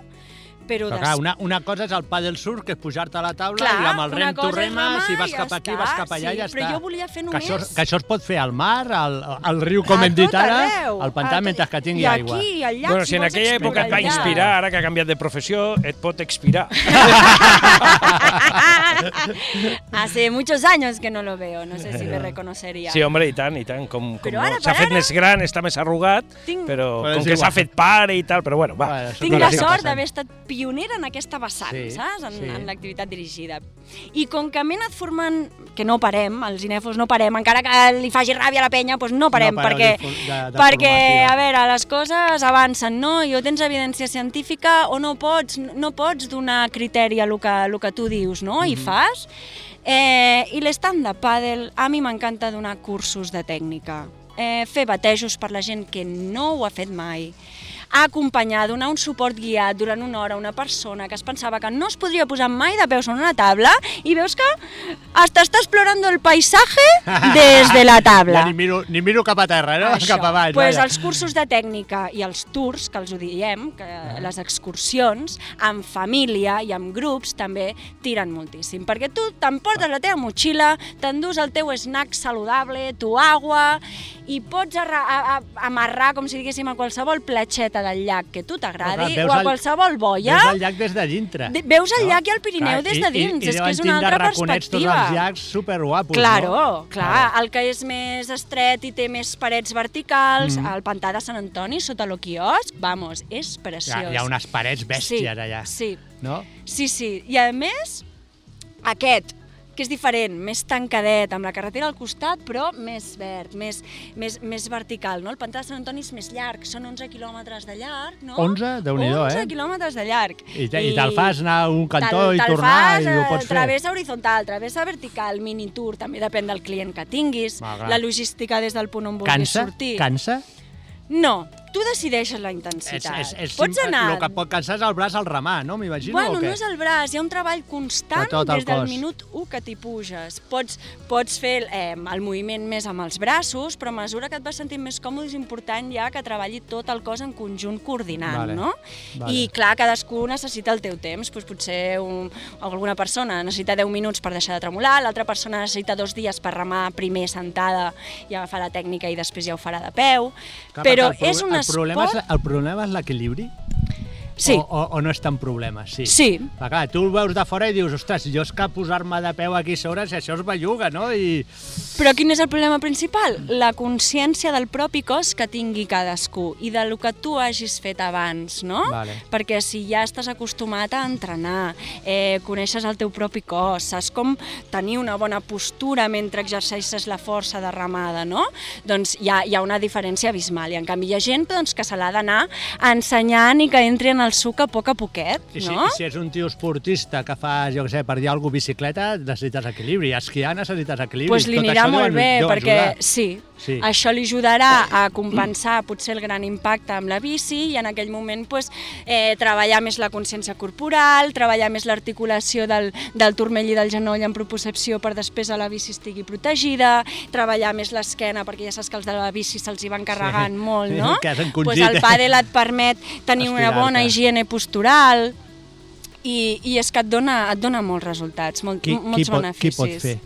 Però, Però des- clar, una, una cosa és el pa del surf, que és pujar-te a la taula Clar, i amb el una rem tu cosa és remes, remar si vas i ja cap aquí, està, vas cap allà sí, i ja però està. jo volia fer Que això, només- que això es pot fer al mar, al, al riu, com a hem dit tot ara, arreu, al pantà, a tot- mentre que tingui I aigua. aquí, i al llac, Bueno, si en vols aquella època et va explorar allà. inspirar, ara que ha canviat de professió, et pot expirar. Hace muchos años que no lo veo, no sé si me reconocería. Sí, home, i tant, i tant. Com, com Però no- ara s'ha per fet ara- més gran, està més arrugat, Tinc- però Però és com que igual. s'ha fet pare i tal, però bueno, va. Bueno, això Tinc Però la sí que sort passen. d'haver estat pionera en aquesta vessant, Sí, saps? En, sí. en l'activitat dirigida. I com que m'he anat formant, que no parem, els cinèfos no parem, encara que li faci ràbia a la penya, doncs no parem, pareu perquè, de for- de- de perquè formació. a veure, les coses avancen, no? I o tens evidència científica o no pots, no pots donar criteri a el que, el que tu dius, no? I fas. Eh, I l'estand de pàdel, a mi m'encanta donar cursos de tècnica. Eh, fer batejos per la gent que no ho ha fet mai acompanyar, donar un suport guiat durant una hora a una persona que es pensava que no es podria posar mai de peus en una tabla i veus que hasta està explorant el paisatge des de la tabla. Ja ni miro, ni miro cap a terra, no? Això. Ah, Cap avall. Pues vaja. els cursos de tècnica i els tours, que els ho diem, que Ah. les excursions, amb família i amb grups també tiren moltíssim, perquè tu t'emportes la teva motxilla, t'endús el teu snack saludable, tu agua, i pots arra- a, a, amarrar, com si diguéssim, a qualsevol platxeta del llac que tu t'agradi, Clar, o veus a el- qualsevol boia. Veus el llac des de dintre. De- veus el llac i el Pirineu Clar, des de I, dins, i, és que deuen és una tindre altra raconets perspectiva. Tots els llacs superguapos, Claro, no? clar, el que és més estret i té més parets verticals, Mm. el pantà de Sant Antoni sota lo quiosc, vamos, és Hi ha, preciós. hi ha unes parets bèsties sí, allà, Sí, no? sí, sí. I a més, aquest, que és diferent, més tancadet, amb la carretera al costat, però més verd, més, més, més vertical, no? El pantà de Sant Antoni és més llarg, són 11 quilòmetres de llarg, no? 11? Déu-n'hi-do, 11 eh? quilòmetres de llarg. I, te- i te'l fas anar a un cantó Te'l- i te'l tornar fas, i ho eh, pots fer. Travessa horitzontal, travessa vertical, mini tour, també depèn del client que tinguis, Ah, clar. la logística des del punt on vulguis Cansa? sortir. Cansa? No, tu decideixes la intensitat. Pots simple- anar... El que pot cansar és el braç al remar, no? M'imagino, Bueno, o què? no és el braç, hi ha un treball constant De tot el des del cos. minut 1 que t'hi puges. Pots, pots fer eh, el moviment més amb els braços, però a mesura que et vas sentint més còmode és important ja que treballi tot el cos en conjunt coordinant, Vale, no? vale. I clar, cadascú necessita el teu temps, doncs potser un, alguna persona necessita 10 minuts per deixar de tremolar, l'altra persona necessita dos dies per remar primer sentada i agafar la tècnica i després ja ho farà de peu, Clar, però perquè el pro- és un el problema esport... És, el problema és l'equilibri? Sí, O, o, o no és tan problema, sí. Sí. Va, clar, tu el veus de fora i dius, ostres, jo és que posar-me de peu aquí sobre, si això es belluga, no? I... Però quin és el problema principal? La consciència del propi cos que tingui cadascú i del que tu hagis fet abans, no? Vale. Perquè si ja estàs acostumat a entrenar, eh, coneixes el teu propi cos, saps com tenir una bona postura mentre exerceixes la força de ramada, no? Doncs hi ha, hi ha una diferència abismal i en canvi hi ha gent doncs, que se l'ha d'anar ensenyant i que entri en el suc a poc a poquet, I si, no? I si és un tio esportista que fa, jo què sé, per dir alguna cosa, bicicleta, necessites equilibri. Esquiar necessites equilibri. Pues Doncs li Tot anirà això molt deu- bé, deu perquè ajudar. sí, Sí. això li ajudarà a compensar potser el gran impacte amb la bici i en aquell moment pues, eh, treballar més la consciència corporal, treballar més l'articulació del, del turmell i del genoll en propriocepció per després a la bici estigui protegida, treballar més l'esquena perquè ja saps que els de la bici se'ls hi van carregant Sí. molt, Sí, no? que has encongit, pues el eh? pàdel et permet tenir una Estirar-te. bona higiene postural i, i és que et dona, et dona molts resultats, molt, Qui, qui, pot, molts qui beneficis. pot fer?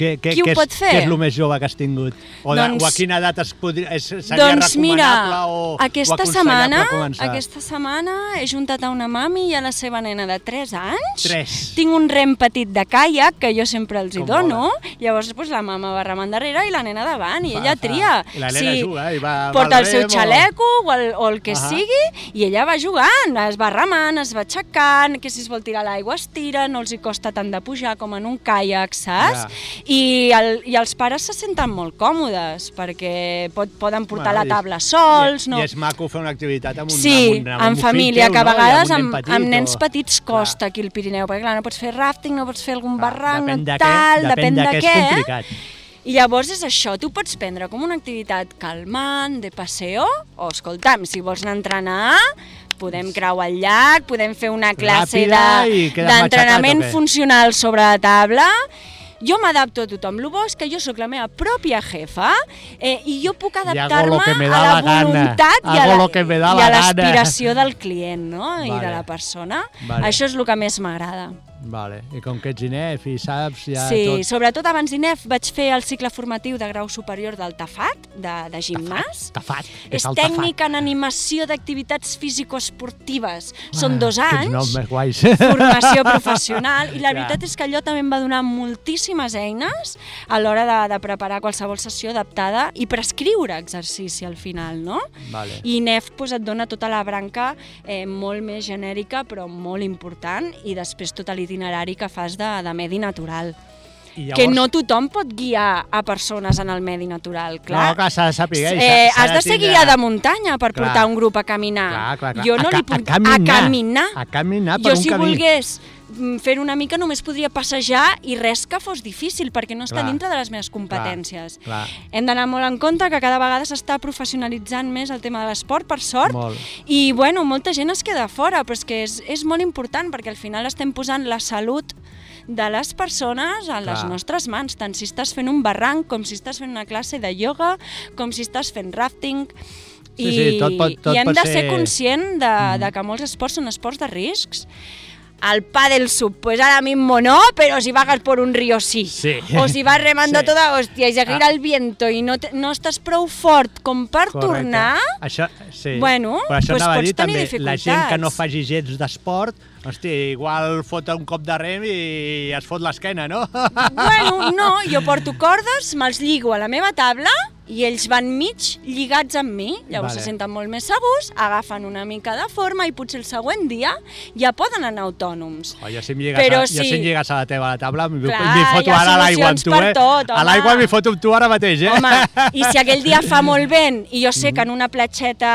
Què, què, Qui ho què, és, pot fer? què és el més jove que has tingut? O, de, Doncs- o a quina edat es podria, és, seria Doncs recomanable mira, o, o aquesta aconsellable setmana, començar? aquesta setmana he juntat a una mami i a la seva nena de 3 anys. Tres. Tinc un rem petit de caiac que jo sempre els hi Com dono. Llavors pues, la mama va remant darrere i la nena davant i Fa, ella fa. tria. I la nena juga, i va- va porta al el seu rem o- xaleco o el, o el que Ahà. sigui i ella va jugant, es va remant, es va aixecant, que si es vol tirar a l'aigua es tira, no els hi costa tant de pujar com en un caiac, saps? Ja. I, el, I els pares se senten molt còmodes perquè pot, poden portar Bueno, la i- tabla sols, i- no? I és maco fer una activitat amb un, Sí, amb un, amb en un família, fill teu, que a no? I vegades amb, un amb, nen petit, amb nens o- petits Clar. costa aquí el Pirineu, perquè clar, no pots fer ràfting, no pots fer algun Clar, barranc, depèn no de què- tal, depèn de què és eh? complicat. I llavors és això, tu pots prendre com una activitat calmant, de passeo, o escolta'm, si vols anar a entrenar, podem creuar el llac, podem fer una classe Ràpida de- i queda d'entrenament matxacat, o què? funcional sobre la taula, jo m'adapto a tothom. El bo és que jo sóc la meva pròpia jefa eh, i jo puc hago lo que adaptar-me me a da la la gana, voluntat i a hago la- lo que me da i a la gana. l'aspiració del client no? i de Vale. la persona. Vale. Això és el que més m'agrada. Vale, i com que ets inef i saps ja sí, tot... sobretot abans d'INEF vaig fer el cicle formatiu de grau superior del TAFAT, de, de gimnàs. Tafat, És el tafat. tècnica en animació d'activitats físico-esportives. Són Ah, dos Quins noms anys, més guais. formació professional, i la Clar. veritat és que allò també em va donar moltíssimes eines a l'hora de, de preparar qualsevol sessió adaptada i prescriure exercici al final, no? Vale. I NEF doncs, et dona tota la branca eh, molt més genèrica però molt important i després tot l'itinerari que fas de, de medi natural. I llavors- que no tothom pot guiar a persones en el medi natural, clar. No, clar, s'ha de saber. s'ha- eh, s'ha has de ser tindre- guia de muntanya per Clar. portar un grup a caminar. Clar, clar, clar. Jo no a, li ca- puc... A caminar. A caminar. A caminar per jo, un si camí. volgués mm, fer una mica, només podria passejar i res que fos difícil, perquè no està Clar. dintre de les meves competències. clar. Hem d'anar molt en compte que cada vegada s'està professionalitzant més el tema de l'esport, per sort, Molt. i bueno, molta gent es queda fora, però és que és, és molt important, perquè al final estem posant la salut de les persones a les Clar. nostres mans, tant si estàs fent un barranc, com si estàs fent una classe de ioga, com si estàs fent rafting, Sí, sí, tot pot- tot i hem pot de ser, ser- Mm. conscient de, de que molts esports són esports de riscs. El pa del sub, pues ahora mismo no, pero si vagas por un río sí. Sí. O si vas remando tota Sí. Ah. toda hostia y se gira el viento i no, te, no estàs prou fort com per Correcte. tornar, Això, sí. Bueno, Però això doncs anava a pots dir tenir també, la gent que no dificultats. faci gens d'esport, hosti, igual fot un cop de rem i es fot l'esquena, no? Bueno, no, jo porto cordes, me'ls lligo a la meva tabla i ells van mig lligats amb mi, llavors Vale. se senten molt més segurs, agafen una mica de forma i potser el següent dia ja poden anar autònoms. Oh, jo si em lligues, Però a, jo sí. si em lligues a la teva a la taula, m'hi Clar, m'hi hi foto ha ara a l'aigua amb solucions tu, per eh? tot, a l'aigua home. m'hi foto amb tu ara mateix, eh? Home, i si aquell dia fa molt vent i jo sé que en una platxeta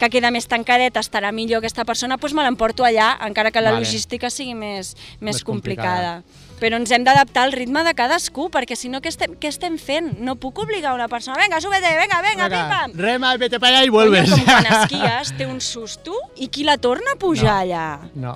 que queda més tancadeta estarà millor aquesta persona, doncs me l'emporto allà, encara que la Vale. logística sigui més, més, Més complicada. complicada. Però ens hem d'adaptar al ritme de cadascú, perquè si no, què estem, què estem fent? No puc obligar una persona, vinga, súbete, vinga, vinga, pim-pam. Rema, vete para allá i Coño, vuelves. com quan esquies, té un susto i qui la torna a pujar no. allà? No.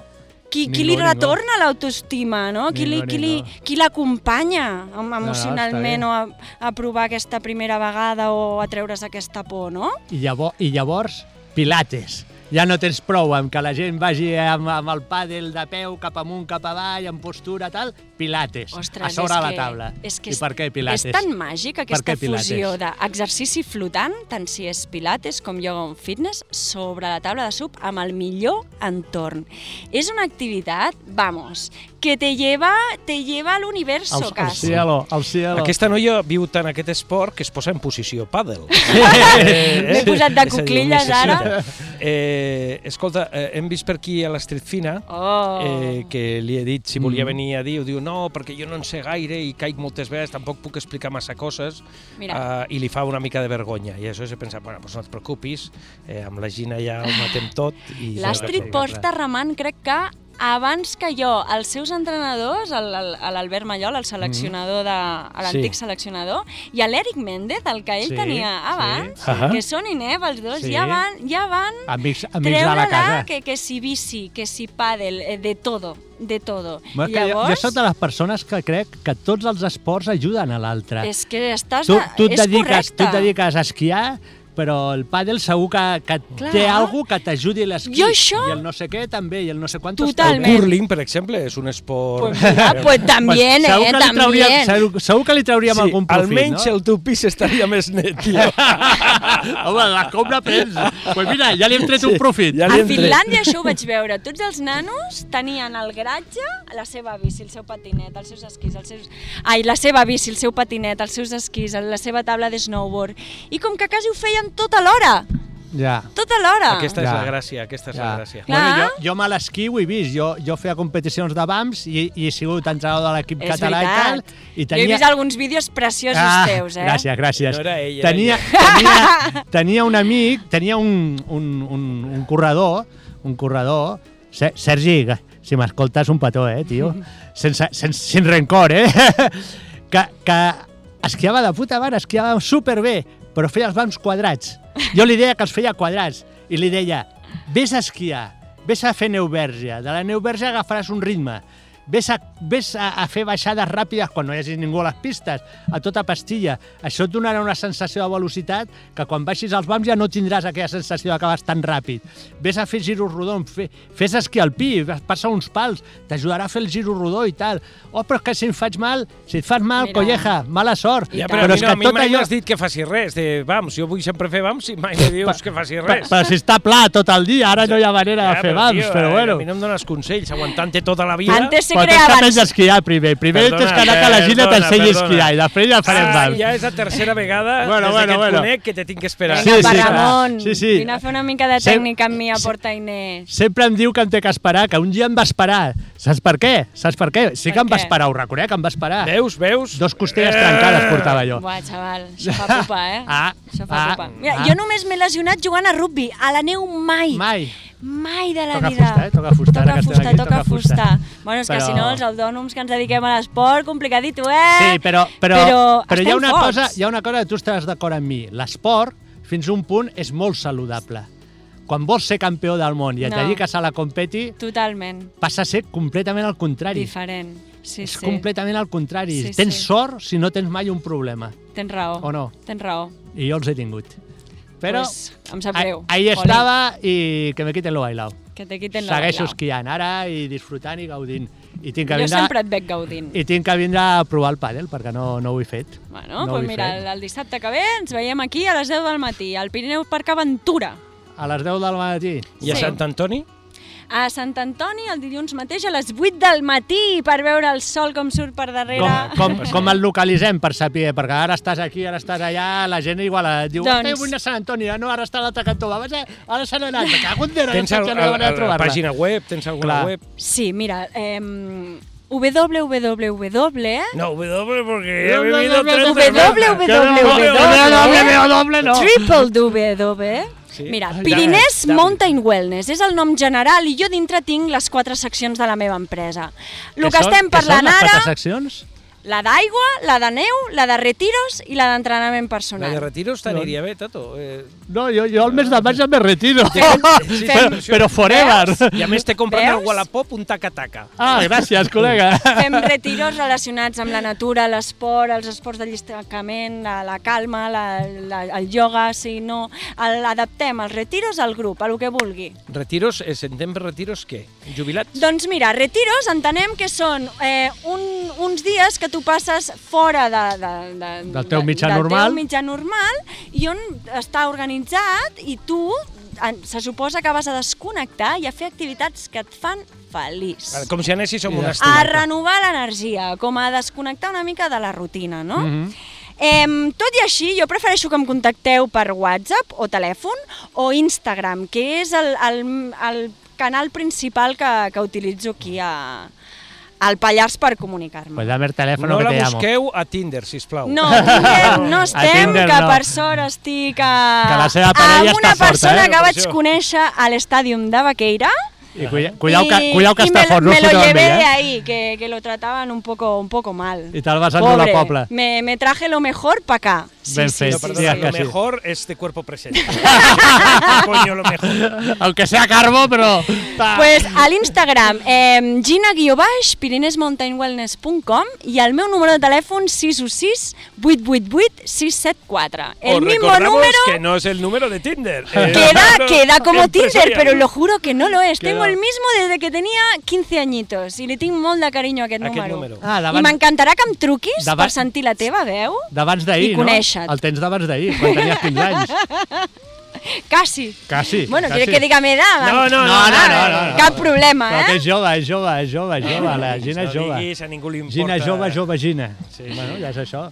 Qui, Ningú, qui li ningú. retorna l'autoestima, no? Qui li- Ningú, qui li- ningú. qui l'acompanya em- no, emocionalment està o a, a provar aquesta primera vegada o a treure's aquesta por, no? I, llavor, I llavors, pilates. Ja no tens prou amb que la gent vagi amb, amb el pàdel de peu cap amunt, cap avall, en postura, tal, pilates, a sobre és la que- taula. És que I per què pilates? És tan màgic aquesta què pilates? fusió d'exercici flotant, tant si és pilates com yoga o fitness, sobre la taula de sub amb el millor entorn. És una activitat, vamos, que te lleva, te lleva a l'universo, Al, al quasi. cielo, al cielo. Aquesta noia viu tant aquest esport que es posa en posició pàdel. Eh, M'he posat de És a dir, cuclilles ara. necessita. Eh, escolta, eh, hem vist per aquí a l'Estreet Fina Oh. eh, que li he dit si volia Mm. venir a dir, ho diu no, perquè jo no en sé gaire i caic moltes vegades, tampoc puc explicar massa coses Mira. eh, i li fa una mica de vergonya i això he pensat, bueno, doncs no et preocupis eh, amb la Gina ja ho matem tot i L'Astrid Ja- porta remant, crec que abans que jo, els seus entrenadors, el- el- a l'Albert Mallol, el seleccionador de, a l'antic Sí. seleccionador, i a l'Eric Méndez, el que ell Mm-hmm. Sí, tenia abans, sí, sí. que són INEP, els dos, Sí. ja van, ja van Amics, amics de la treure-la, casa. que, que si bici, que si pàdel, eh, de todo, de todo. Bueno, és que jo, jo soc de les persones que crec que tots els esports ajuden a l'altre. és que estàs... Tu, de- tu, et és dediques, tu correcte. et dediques a esquiar, però el pàdel segur que, que Clar. té algú que t'ajudi l'esquí. Jo això- I el no sé què també, i el no sé quant. El Totalment. curling, per exemple, és un esport... Pues mira, Ah, pues también, segur eh, que li Trauríem, también. segur, segur que li trauríem sí, algun profit, almenys no? el teu pis estaria més net, tio. Home, la compra prens. Doncs pues mira, ja li hem tret sí, un profit. ja Ja li... li- A Alien Finlàndia això ho vaig veure. Tots els nanos tenien al garatge la seva bici, el seu patinet, els seus esquís, els seus... Ai, la seva bici, el seu patinet, els seus esquís, la seva taula de snowboard. I com que quasi ho feien tota l'hora, ja. tota l'hora. Aquesta és Ja. la gràcia, aquesta és la Ja. gràcia. Clar. Bueno, jo, jo me l'esquí ho he vist. Jo, jo feia competicions de BAMS i, i he sigut entrenador de l'equip És català veritat. i tal. I Jo he vist alguns vídeos preciosos Ah, teus, eh? Gràcies, gràcies. No era ell, era tenia, tenia, tenia un amic, tenia un, un, un, un corredor, un corredor, Se- Sergi, si m'escoltes un petó, eh, tio, sense, sense, sense rencor, eh, que, que esquiava de puta mare, esquiava superbé, però feia els bams quadrats. Jo li deia que els feia quadrats i li deia, vés a esquiar, vés a fer neu verge, de la neu verge agafaràs un ritme, Ves, a, ves a, a fer baixades ràpides quan no hi hagi ningú a les pistes, a tota pastilla. Això et donarà una sensació de velocitat que quan baixis als bams ja no tindràs aquella sensació de que vas tan ràpid. Ves a fer giros rodons, fe, fes esquí alpí, vas- passa uns pals, t'ajudarà a fer el giro rodó i tal. Oh, però és que si em faig mal, si et fas mal, Mira. colleja, mala sort. Ja, però, però a mi, no, a mi mai m'has dit que faci res, de vams, jo vull sempre fer vams i mai em dius que faci Però, res. però si està pla tot el dia, ara no hi ha manera Ja, de fer però, bams, tio, però eh, bueno. A mi no em dones consells, aguantant-te tota la vida. Antes ser Però crear tens que abans. aprendre a esquiar primer. Primer Perdona, eh, tens que anar que la Gina perdona, t'ensenyi a perdona. esquiar i després ja farem Ah, mal. ja és la tercera vegada Bueno, bueno, des bueno, bueno, que et bueno. bueno. conec que te tinc esperant. Sí, Vinga, sí, sí, sí, clar. Ramon, Sí, sí. vine a fer una mica de Sem- tècnica amb mi a Porta Inés. Sempre em diu que em té que esperar, que un dia em va esperar. Saps per què? Saps per què? Sí que em Per va què? esperar, ho reconec, em va esperar. Veus, veus? Dos costelles Eh. trencades portava jo. Buah, xaval, això fa pupa, eh? Ah, això fa ah, pupa. Mira, ah. jo només m'he lesionat jugant a rugby, a la neu mai. Mai. Eh, Mai de la Toca vida. fusta, eh? Toca fusta, ara Toca que estem fusta, aquí, toca toca fusta. fusta. Bueno, és Però- que si no, els autònoms que ens dediquem a l'esport, complicadito, eh? Sí, però, però, però, però hi, ha estem una forts. cosa, hi ha una cosa que tu estàs d'acord amb mi. L'esport, fins a un punt, és molt saludable. Quan vols ser campió del món i et No. dediques a la competi, Totalment passa a ser completament al contrari. diferent. Sí, és sí. completament al contrari. Sí, tens sí. sort si no tens mai un problema. Tens raó. O no? Tens raó. I jo els he tingut. Però pues, em sap ahí- greu. ahí Oli, estava i que me quiten lo bailao. Que te quiten la Segueixo bailao. esquiant ara i disfrutant i gaudint. I tinc que Jo vindre, sempre et veig gaudint. i tinc que vindre a provar el pàdel perquè no, no ho he fet. Bueno, No no ho he pues mira, fet. el, el dissabte que ve ens veiem aquí a les 10 del matí, al Pirineu Parc Aventura. A les 10 del matí. I a Sí. Sant Antoni? A Sant Antoni, el dilluns mateix, a les 8 del matí, per veure el sol com surt per darrere. Com, com, com el localitzem per saber? Perquè ara estàs aquí, ara estàs allà, la gent igual et diu doncs... Doncs- «Ei, vull anar a Sant Antoni, ah, no, ara està a l'altre cantó, va, vaja, ara se n'ha anat, me cago en Déu, ara Tens no al, sé al, no a a la trobar-la». pàgina web? Tens alguna Clar. web? Sí, mira, eh, www... No, W porque he No, no, no, vivido no, tres no, semanas. W, Que no, W, W, W, no. Triple W. Sí. Mira, Ai, Pirinès dame, dame. Mountain Wellness és el nom general i jo dintre tinc les quatre seccions de la meva empresa. El que són- estem són parlant les quatre ara, seccions? la d'aigua, la de neu, la de retiros i la d'entrenament La de personal. retiros t'aniria bé, Tato. Eh, No, jo, jo el mes de maig ja me retiro. sí, però, sí. però forever. I a més t'he comprat al Veus? Wallapop un taca-taca. Ah, gràcies, col·lega. Fem retiros relacionats amb la natura, l'esport, els esports de llistacament, la, la calma, la, la, el ioga, si no... el- Adaptem els retiros al grup, a lo que vulgui. Retiros, eh, s'entén per retiros què? Jubilats? Doncs mira, retiros entenem que són eh, un, uns dies que tu passes fora de, de, de, Del teu mitjà del normal. Teu mitjà normal i on està organitzat i tu en- se suposa que vas a desconnectar i a fer activitats que et fan feliç. Com si anessis a un monestir. A renovar l'energia, com a desconnectar una mica de la rutina, no? Mhm. Mm -hmm. Eh, tot i així, jo prefereixo que em contacteu per WhatsApp o telèfon o Instagram, que és el, el, el canal principal que, que utilitzo aquí a, al Pallars per comunicar-me. Pues dame el telèfon No que la te llamo. busqueu a Tinder, sisplau. No, Tinder no A estem, Tinder que no. per sort estic a, Que la seva parella amb una està forta, persona eh, que per vaig això. conèixer a l'estàdium de Vaqueira, I cuida, cuidao, que, Y- cuidao que y està me, lo- fort, no me us lo foteu amb llevé ell, de eh? ahí, que, que lo trataban un poco, un poco mal. I te'l vas endur a la Pobre, pobla. Me, me traje lo mejor para acá. Ben fet, No, sí, perdona, sí, lo sí. mejor es de cuerpo presente. Coño, lo mejor. Aunque sea carbo, però... Ta. Pues a l'Instagram, eh, gina-baix, pirinesmountainwellness.com i el meu número de telèfon 616 888 674. El Os mismo recordamos número que no es el número de Tinder. Eh, queda, número queda como Tinder, empresarial. pero lo juro que no lo es. Queda. Tengo el mismo desde que tenía 15 añitos i li tinc molt de carinyo a aquest, Aquest número. número. Ah, I davant- m'encantarà que em truquis Davant- per sentir la teva veu. D'abans d'ahir, I no? conèixer-te. El tens d'abans d'ahir, quan tenies 15 anys. Casi. Casi, Bueno, casi. ¿quieres que diga mi edad? No, no, no, No, no, no, no, no. Cap problema, Però que eh? és jove, és jove, és jove, és jove. La diguis, Gina és no jove. diguis, a ningú li importa. Gina jove, jove, Gina. Sí. Bueno, ja és això.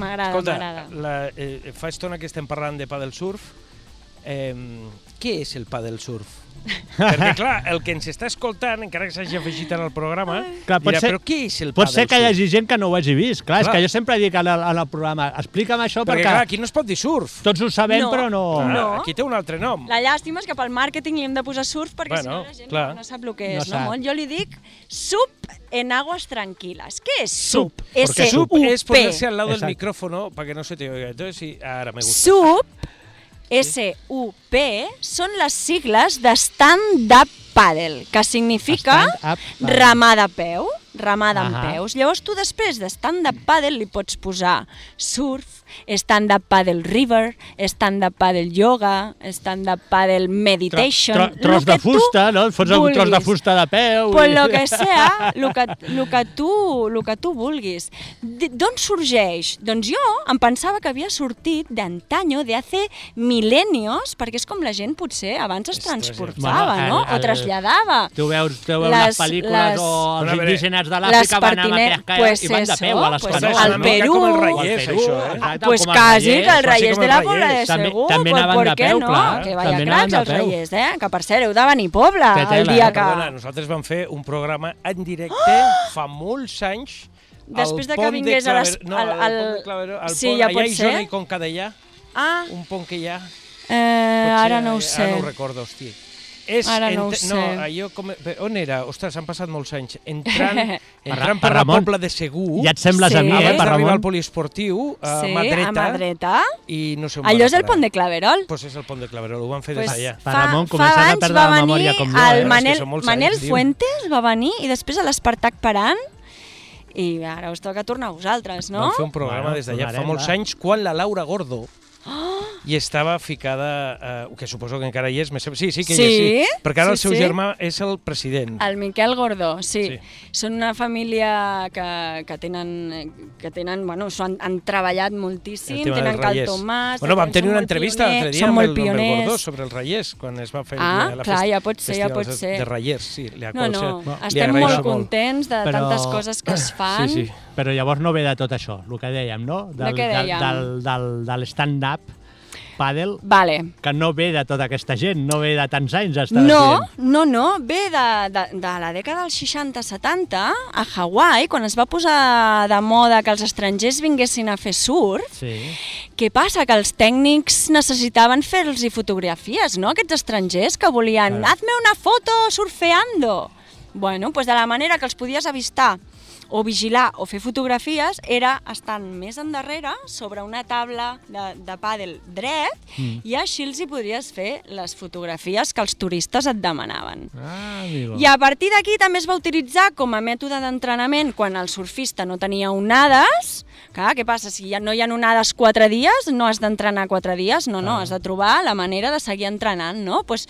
M'agrada, Escolta, m'agrada. la, eh, fa estona que estem parlant de paddle surf. Eh, què és el paddle surf? Perquè, clar, el que ens està escoltant, encara que s'hagi afegit en el programa, Clar, pot dirà, ser- però què és el Pot paddle ser que hi surf? hagi gent que no ho hagi vist. Clar, és Clar. que jo sempre dic en el, en el programa, explica'm això Perquè, perquè, clar, aquí no es pot dir surf. tots ho sabem, No. però no... Clar, No. Aquí té un altre nom. La llàstima és que pel màrqueting li hem de posar surf perquè Bueno, si no la gent clar. no sap el que No és. No sap. molt. Jo li dic sup en aguas tranquilas. Què és Sup, sup? porque Porque sub S-U-P. es ponerse al lado Exacto. del micrófono para que no se te oiga. Entonces, sí, ahora me gusta. Sup, S-U-P, són les sigles de stand-up paddle, que significa Stand-up paddle. ramada a peu, ramada amb Ahà. peus. Llavors tu després de stand-up paddle li pots posar surf, stand-up paddle river, stand-up paddle yoga, stand-up paddle meditation... Tro, lo tros de que tu fusta, no? Et fots algun tros de vulguis. fusta de peu... Pues i- lo que sea, lo que, lo que, tu, lo que tu vulguis. D- D'on sorgeix? Doncs jo em pensava que havia sortit d'antanyo, de hace milenios, perquè és com la gent potser abans es Ostres, transportava, bueno, no? el- el- O traslladava. Tu veus, tu veus les, les Les- pel·lícules les- o els Bueno, a veure, indígenes les de l'Àfrica van anar a pertine- la pesca pues i van de eso, peu a les pues canoes. eso, no? al Perú. O al Reyes, això, eh? exacte, pues com al casi que Reyes. el Reyes com de el la Reyes. Pobla de També- Segur, també pues, anaven ¿por de què peu, no? clar, que vaya també cracs anaven els de peu. Reyes, eh? Que per cert, heu de venir a Pobla Té el tela, dia eh? que... Perdona, nosaltres vam fer un programa en directe fa molts anys al ¡Ah! Després de que pont vingués a les- Claver- No, al- al, al- pont de Claveró, al Sí, pont, ja allà pot hi ser. Jordi Conca d'allà, Ah, un pont que hi ha. eh, Potser, ara no ho eh, sé. Ara no ho recordo, hòstia. És Ara no ho ent- sé. No, allò com... bé, On era? Ostres, han passat molts anys. Entrant, Per entrant per la Ramon. Pobla de Segur, Ja et sembles a Sí. mi, Ah, eh, abans per d'arribar al Ramon? poliesportiu, a sí, mà dreta, a mà dreta. i no sé on Allò van és el parar. pont de Claverol. Pues és el pont de Claverol, ho van fer Pues des d'allà. Per Ramon, fa començant a anys perdre va la venir memòria com jo, eh? el És que Manel, són molts Manel anys, tio. Fuentes va venir i després a l'Espartac Parant i ara us toca tornar a vosaltres, no? Vam fer un programa Bueno, des d'allà fa tornarem, molts va. anys, quan la Laura Gordo Ah! i estava ficada, eh, que suposo que encara hi és, me sembla- sí, sí que hi Sí? és, sí, perquè ara Sí, el seu sí. germà és el president. El Miquel Gordó, sí. Sí. sí. Són una família que, que tenen, que tenen, bueno, s'ho han, han treballat moltíssim, tema tenen dels Cal Rallers. Tomàs... Bueno, vam són tenir una molt entrevista l'altre pioners, dia són amb el, molt amb el pioners. Gordó sobre els Rallers, quan es va fer el Ah, dia de la clar, fest- ja pot ser, ja festival pot de- ser. De Rallers, sí, la No, qual no, ser- li estem agraeixo molt contents de Però- tantes coses que es fan. Sí, sí. Però llavors no ve de tot això, el que dèiem, no? De què dèiem? Del, del, del, del stand-up, pàdel, Vale. que no ve de tota aquesta gent, no ve de tants anys, estàs No, dient. no, no, ve de, de, de la dècada dels 60-70, a Hawaii, quan es va posar de moda que els estrangers vinguessin a fer surf, Sí. què passa? Que els tècnics necessitaven fer-los fotografies, no? Aquests estrangers que volien, Clar. hazme una foto surfeando. Bueno, doncs de la manera que els podies avistar o vigilar o fer fotografies era estant més endarrere sobre una taula de, de pàdel dret mm. i així els hi podies fer les fotografies que els turistes et demanaven. Ah, amigo. I a partir d'aquí també es va utilitzar com a mètode d'entrenament quan el surfista no tenia onades. Clar, què passa? Si ja no hi ha onades quatre dies, no has d'entrenar quatre dies, no, no, has de trobar la manera de seguir entrenant, no? Pues,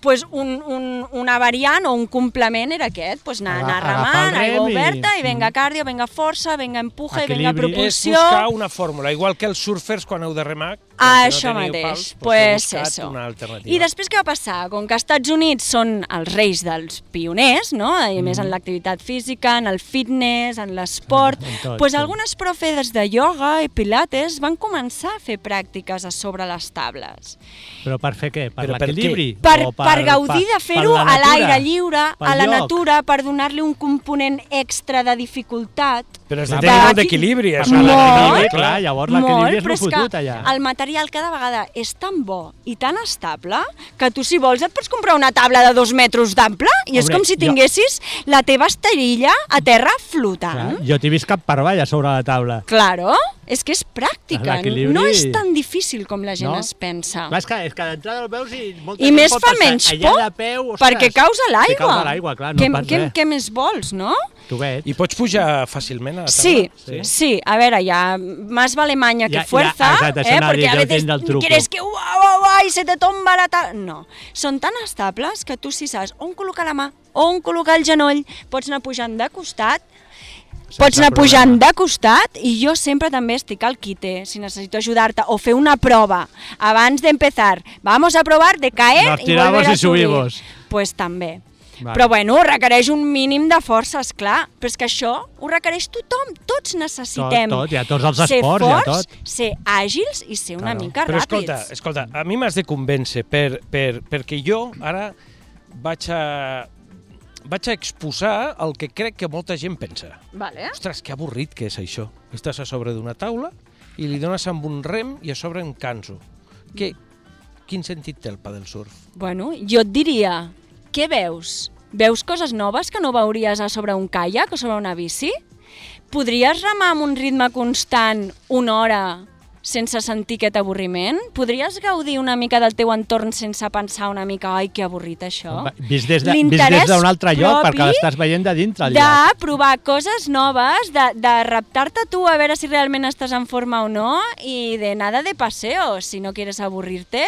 pues un, un, una variant o un complement era aquest, pues anar, anar Agafar el remant, aigua rem i- Mm. oberta, i venga cardio, venga força, venga empuja, i venga Equilibri. És propulsió... buscar una fórmula, igual que els surfers quan heu de remar. com que Ah, això teniu mateix, pals, doncs heu pues buscat eso. Una alternativa. I després què va passar? Com que als Estats Units són els reis dels pioners, no? I a més Mhm. en l'activitat física, en el fitness, en l'esport, En tot, doncs pues sí. algunes profedes de ioga i pilates van començar a fer pràctiques a sobre les tables. Però per fer què? Per Però per l'equilibri? Per, O per, per gaudir per- de fer-ho per la a l'aire natura? lliure, a Pel la lloc? natura, per donar-li un component extra de dificultat. Però has de Clar, tenir però molt aquí- d'equilibri. Per és la una- l'equilibri, Molt, clar, llavors l'equilibri Molt, és però lo és fotut que allà. El material cada vegada és tan bo i tan estable que tu, si vols, et pots comprar una tabla de dos metres d'ample i és Hombre, com si jo- tinguessis la teva esterilla a terra flotant. Clar, jo t'he vist cap per avall a sobre la taula. Claro, és que és pràctica. L'equilibri- No és tan difícil com la gent No? es pensa. Clar, és que, és que d'entrada el veus i... Molta I gent més pot fa passar. menys Allà por, de peu, ostres, perquè causa l'aigua. Que causa l'aigua, clar, no què, em pas què, res. què més vols, no? Tovet. I pots pujar fàcilment a la taula? Sí, sí, a ver, ya más vale maña que Ya- ya, fuerza, exacto, eso eh, nadie porque a lo veces entiende al truco. quieres que guau, guau, guau, y se te tomba la tal... No, són tan estables que tu si saps on col·locar la mà, on col·locar el genoll, pots anar pujant de costat, pots anar pujant de costat i jo sempre també estic al quite, si necessito ajudar-te o fer una prova abans d'empezar. Vamos a provar de caer Nos i volver tiramos a y subir. subimos. Pues també. Vale. Però bueno, requereix un mínim de força, és clar, però és que això ho requereix tothom, tots necessitem. Tot, tot, i a tots els esports, ser i a forts, tot. ser àgils i ser una Claro. mica Però ràpids. escolta, escolta, a mi m'has de convèncer per, per, perquè jo ara vaig a, vaig a exposar el que crec que molta gent pensa. Vale. Ostres, que avorrit que és això. Estàs a sobre d'una taula i li dones amb un rem i a sobre en canso. Que, quin sentit té el pa del surf? Bueno, jo et diria, què veus? Veus coses noves que no veuries a sobre un caiac o sobre una bici? Podries remar amb un ritme constant una hora sense sentir aquest avorriment? Podries gaudir una mica del teu entorn sense pensar una mica ai, que avorrit això? Va- Vist des de- vist L'interès des d'un altre lloc, propi perquè l'estàs veient de dintre. el llac. de provar coses noves, de, de reptar-te tu a veure si realment estàs en forma o no i de nada de paseo, si no quieres avorrir-te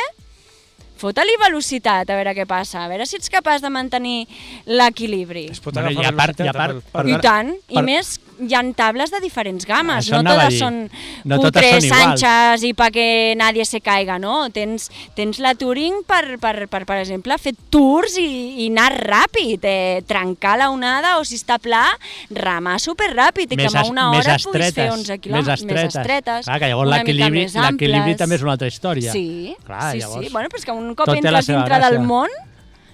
Fota-li velocitat, a veure què passa, a veure si ets capaç de mantenir l'equilibri. Es pot Bueno, agafar i a part- i a velocitat part- amb el- perdona, I tant, i per- més, hi han tables de diferents games, Això no anava a totes dir. són No totes putre, són iguals. Sánchez i pa que nadie se caiga, no? Tens, tens la Turing per, per, per, per exemple, fer tours i, i anar ràpid, eh, trencar la onada o si està pla, remar superràpid i Més que en es- una més hora et puguis fer estretes, 11 quilòmetres, Més estretes. Clar, que llavors una l'equilibri mica més l'equilibri amples. també és una altra història. Sí, Clar, sí, llavors, sí. Bueno, però és que un cop tot té la entres seva dintre del gràcia. món...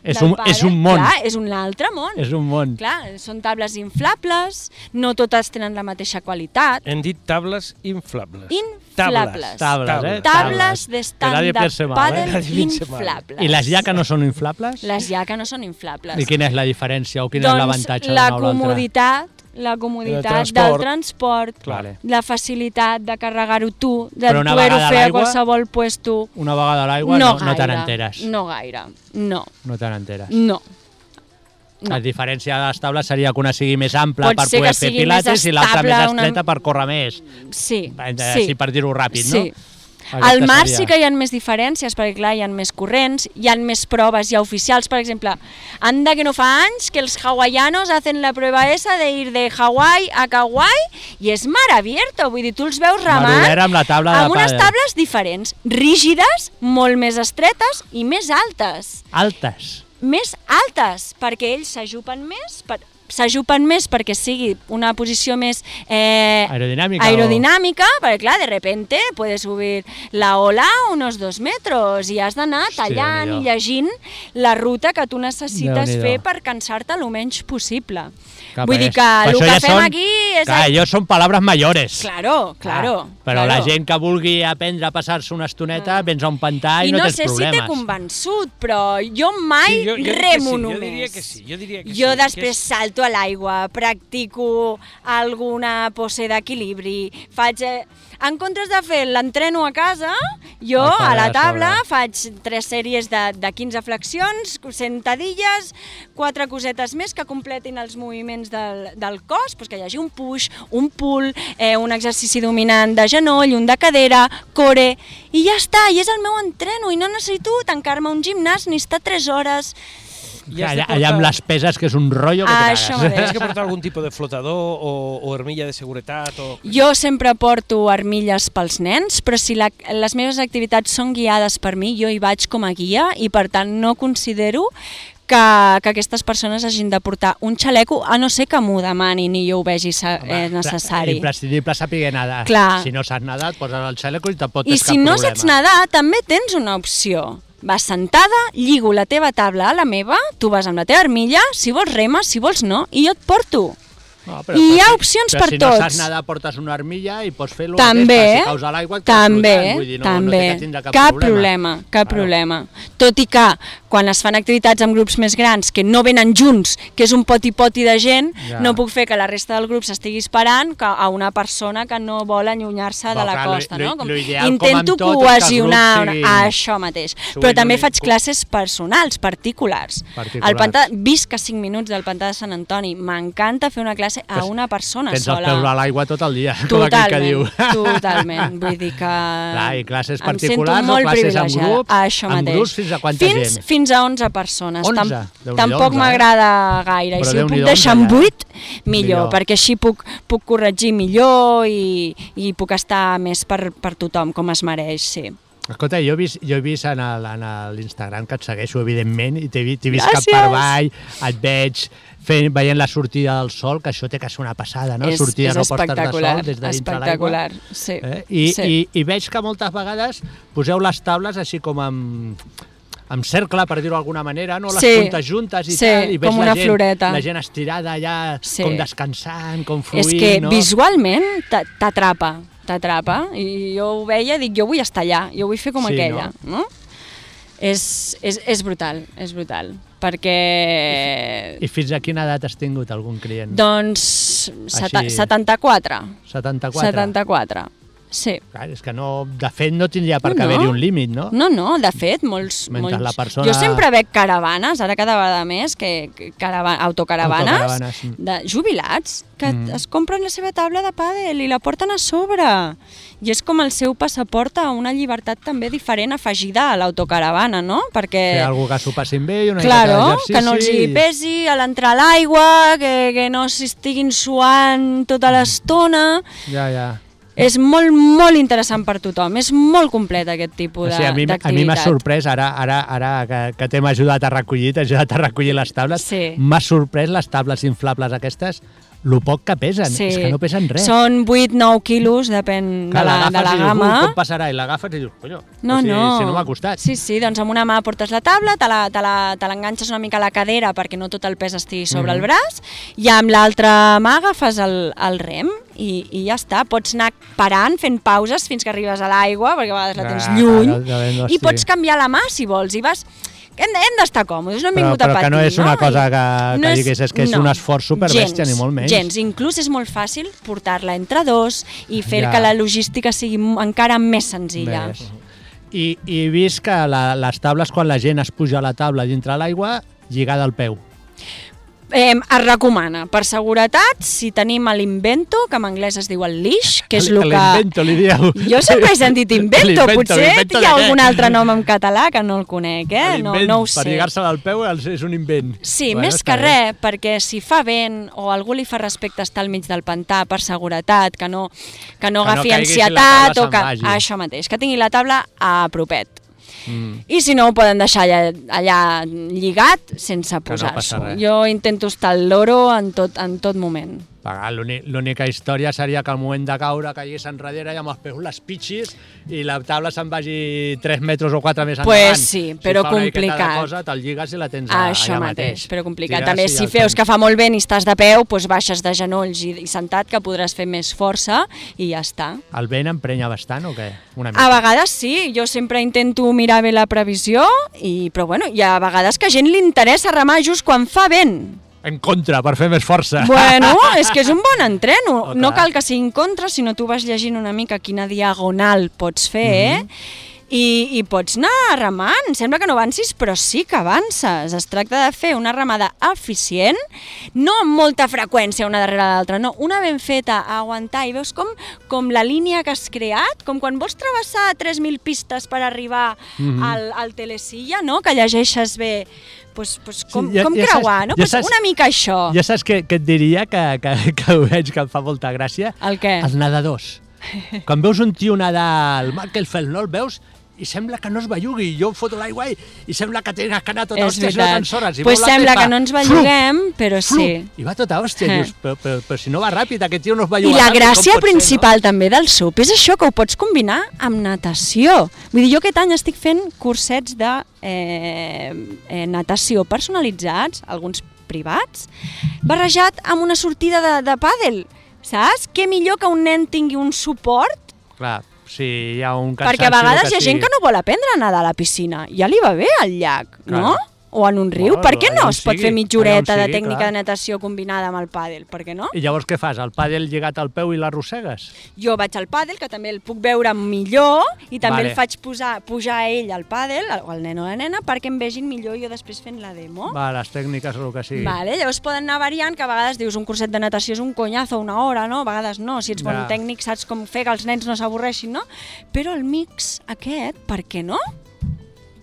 és, del un, és pàdel, un món. Clar, és un altre món. és un món. Clar, són tables inflables, no totes tenen la mateixa qualitat. Hem dit tables inflables. Tables, Inflables. eh? Tables tables. Que nadie d'estàndard piense mal, pàdel eh? Nadie piense mal. inflables. I les llaques no són inflables? Les ja que no són inflables. I quina és la diferència o quin és doncs l'avantatge la d'una o l'altra? comoditat, la El comoditat transport. del transport, Vale. la facilitat de carregar-ho tu, de Però una poder-ho vegada fer a l'aigua, qualsevol pues tu. Una vegada a l'aigua no, no, no te gaire, n'enteres. No gaire, no, No te n'enteres. no. no. La diferència de les taules seria que una sigui més ampla Pot per ser poder que fer sigui més pilates i l'altra més estable, una- estreta per córrer més. Sí, Eh, Així sí. per dir-ho ràpid, sí. no? Al Aquesta mar seria. sí que hi ha més diferències, perquè clar, hi ha més corrents, hi ha més proves, hi ha oficials, per exemple, anda que no fa anys que els hawaianos hacen la prova esa de ir de Hawaii a Kauai i és mar abierto, vull dir, tu els veus remant Marulera amb la tabla de amb unes pàdel. tables diferents, rígides, molt més estretes i més altes Altes. més altes, perquè ells s'ajupen més, per, s'ajupen més perquè sigui una posició més eh, Aerodinàmica aerodinàmica perquè clar, de repente puede subir la ola unos dos metros i has d'anar Hòstia, tallant i Déu-n'hi-do. llegint la ruta que tu necessites Déu-n'hi-do. fer per cansar-te el menys possible. Clar, Vull dir perquè per que el això que ja fem són- aquí és... Clar, el- allò són paraules mayores. Ah, Claro, claro. Però claro. Ah. la gent que vulgui aprendre a passar-se una estoneta, vens a un pantà i, I no, tens sé si problemes. t'he convençut, però jo mai Sí, jo, jo, remo remo només. jo diria que sí, jo diria que sí. Jo que després és- salto a l'aigua, practico alguna pose d'equilibri, faig... eh, En comptes de fer l'entreno a casa, jo Al pare a la de taula sobre. faig tres sèries de, de 15 flexions, sentadilles, quatre cosetes més que completin els moviments del, del cos, doncs que hi hagi un push, un pull, eh, un exercici dominant de genoll, un de cadera, core, i ja està, i és el meu entreno, i no necessito tancar-me a un gimnàs ni estar 3 hores. I Clar, has de allà, allà amb portar- les peses, que és un rotllo que Ah, te això cagues. mateix. Tens que portar algun tipus de flotador o, o armilla de seguretat o... Jo sempre porto armilles pels nens, però si la, les meves activitats són guiades per mi, jo hi vaig com a guia i per tant no considero que, que aquestes persones hagin de portar un xaleco, a no ser que m'ho demanin i jo ho vegi sa, Home, eh, necessari. Imprescindible saber nedar. Clar. Si no saps nedar, et poses el xaleco i tampoc I tens cap si no problema. saps nedar, també tens una opció. Vas sentada, lligo la teva tabla a la meva, tu vas amb la teva armilla, si vols remes, si vols no, i jo et porto. No, I hi ha si- opcions però per si tots. no saps nedar, portes una armilla i pots fer-lo també, aquesta, si caus a l'aigua, et caus també, flotant, vull dir, no, no també, té que tindre cap, cap problema, cap problema. Tot i que quan es fan activitats amb grups més grans que no venen junts, que és un poti-poti de gent, Ja. ja. no puc fer que la resta del grup s'estigui esperant que a una persona que no vol allunyar-se de Però la clar, lo- costa, lo- no? Com, lo ideal, com intento amb tot, és que els cohesionar grups siguin- una- això mateix, però siguin també un- faig classes personals, particulars. Particulars. El pantà, visc a 5 minuts del pantà de Sant Antoni, m'encanta fer una classe a Pues una persona Tens els sola. peus a l'aigua tot el dia, com aquell que Totalment, diu. totalment. Vull dir que Clar, i classes em particulars sento o molt classes amb privilegiada. Ah, grups? Això Amb mateix. grups fins a quanta fins, gent? Fins a 11 persones. 11? Tam- Déu-n'hi-do, Tampoc 11, eh? m'agrada gaire. Però I si ho puc Déu-n'hi-do, deixar en 11 ja. 8, millor, Millor. perquè així puc, puc corregir millor i, i puc estar més per, per tothom, com es mereix, sí. Escolta, jo he vist, jo he vist en el- en el- l'Instagram, que et segueixo, evidentment, i t'he vi- t'he vist cap Gràcies. per avall, et veig fent, veient la sortida del sol, que això té que ser una passada, no? és, sortida és no postes de espectacular, sol des de dins de l'aigua. espectacular, sí. Eh? I, sí. sí. i, I veig que moltes vegades poseu les taules així com amb, amb cercle, per dir-ho d'alguna manera, no? les Sí. puntes juntes i Sí, tal, i veig com la una gent, floreta. la gent estirada allà, Sí. sí. com descansant, com fluint. És que no? visualment t'a- t'atrapa, t'atrapa. I jo ho veia i dic, jo vull estar allà, jo vull fer com Sí, aquella, no? És, és, és brutal, és brutal, perquè... I fins a quina edat has tingut algun client? Doncs seta- Així. 74, 74? 74. Sí. Clar, és que no, de fet no tindria per No, què no. haver-hi un límit, no? No, no, de fet, molts... Mentre molts... la persona- Jo sempre veig caravanes, ara cada vegada més, que que carava... autocaravanes, Autocaravanes, mm. de jubilats, que mm. es compren la seva taula de pàdel i la porten a sobre. I és com el seu passaport a una llibertat també diferent afegida a l'autocaravana, no? Perquè... Fer algú que s'ho passin bé i una mica eh. Claro, d'exercici. que no els hi i- pesi a l'entrar a l'aigua, que, que no s'estiguin suant tota l'estona. Ja, ja. És molt, molt interessant per tothom. És molt complet aquest O tipus de- sigui, a mi, a d'activitat. mi m'ha sorprès, ara, ara, ara que, que t'hem ajudat a recollir, t'he ajudat a recollir les tables, Sí. m'ha sorprès les tables inflables aquestes, lo poc que pesen, Sí. és que no pesen res. Són 8-9 quilos, depèn Clar, de la, de la l'agafes i dius, gamma. "Ui, com passarà? I l'agafes i dius, collo, No, o sigui, no. si no m'ha costat. Sí, sí, doncs amb una mà portes la taula, te la- te la- te l'enganxes una mica a la cadera perquè no tot el pes estigui sobre Mhm. el braç, i amb l'altra mà agafes el, el rem i, i ja està. Pots anar parant, fent pauses fins que arribes a l'aigua, perquè a vegades la tens Ah, lluny, no, no, no, sí. i pots canviar la mà si vols, i vas... Hem, hem d'estar còmodes, no hem Però- vingut però que a patir. no és una cosa que- I que diguis, és que és un esforç superbèstia, gens, ni molt menys. Gens, inclús és molt fàcil portar-la entre dos i fer Ja. que la logística sigui m- encara més senzilla. Ves. I, I he vist que la, les tables, quan la gent es puja a la taula dintre l'aigua, lligada al peu. Eh, es recomana, per seguretat, si tenim l'invento, que en anglès es diu el leash, que és el que... L'invento, li dieu. Jo sempre he sentit invento, L'invento, potser l'invento hi ha de què? algun altre nom en català que no el conec, eh? No, L'invent no ho Per sé. lligar-se al peu és és un invent. Sí, Bueno, bueno, més està que bé. res, perquè si fa vent o algú li fa respecte estar al mig del pantà per seguretat, que no, que no Que no agafi caigui si la taula ansietat o se'n que... vagi. Això mateix, que tingui la taula a propet. Mm. I si no, ho poden deixar allà, allà lligat sense no passa posar-s'ho. res. jo intento estar al loro en tot, en tot moment. Pagar, l'únic- L'única història seria que al moment de caure caigués enrere i amb els peus les pitxis i la taula se'n vagi 3 metres o 4 més Pues endavant. sí, però si fa una miqueta complicat. De cosa, te'l lligues i la tens a, Això allà mateix, mateix. però complicat. Tires També i si el feus tens. que fa molt vent i estàs de peu, doncs baixes de genolls i, i sentat, que podràs fer més força i ja està. El vent emprenya bastant o què? Una A vegades sí, jo sempre intento mirar bé la previsió, i, però bueno, hi ha vegades que a gent li interessa remar just quan fa vent. En contra, per fer més força. Bueno, és que és un bon entreno. Oh, no clar. cal que sigui en contra, sinó tu vas llegint una mica quina diagonal pots fer, mm Mm-hmm. i, i pots anar remant. Sembla que no avancis, però sí que avances. Es tracta de fer una remada eficient, no amb molta freqüència una darrere l'altra, no, una ben feta, a aguantar, i veus com, com la línia que has creat, com quan vols travessar 3.000 pistes per arribar Mm-hmm. al, al telesilla, no?, que llegeixes bé, pues, pues, com, ja- com ja saps- creuar, no? ja Pues saps- una mica això. Ja saps que, que et diria que, que, que ho veig, que em fa molta gràcia? El què? Els nedadors. Quan veus un tio nedar al mar que el fel, no el veus? I sembla que no es bellugui. Jo em foto a l'aigua i, i sembla que tens que anar tota hòstia, si no tens hores. I pues veu la sembla pepa, que no ens flup, belluguem, però flup, sí. I va tota hòstia, Eh. dius, però, però, però, si no va ràpid, aquest tio no es I belluga. la ràpid, com gràcia pot ser, principal també del SUP és això, que ho pots combinar amb natació. Vull dir, jo aquest any estic fent cursets de eh, eh, natació personalitzats, alguns privats, barrejat amb una sortida de, de pàdel. Saps? Què millor que un nen tingui un suport No? Clar, si hi ha un Perquè a vegades hi ha gent que no vol aprendre a nedar a la piscina. Ja li va bé al llac, Clar. no? O en un riu. Bueno, per què allà no on es pot sigui, fer mitja horeta allà on de sigui, tècnica clar. de natació combinada amb el pàdel? Per què no? I llavors què fas? El pàdel lligat al peu i l'arrossegues? Jo vaig al pàdel, que també el puc veure millor, i també Vale. el faig posar, pujar a ell al pàdel, o al nen o la nena, perquè em vegin millor jo després fent la demo. Va, les tècniques o el que sigui. Vale, llavors poden anar variant, que a vegades dius un curset de natació és un conyazo, una hora, no? A vegades no, si ets bon Ja. tècnic saps com fer que els nens no s'avorreixin, no? Però el mix aquest, per què no?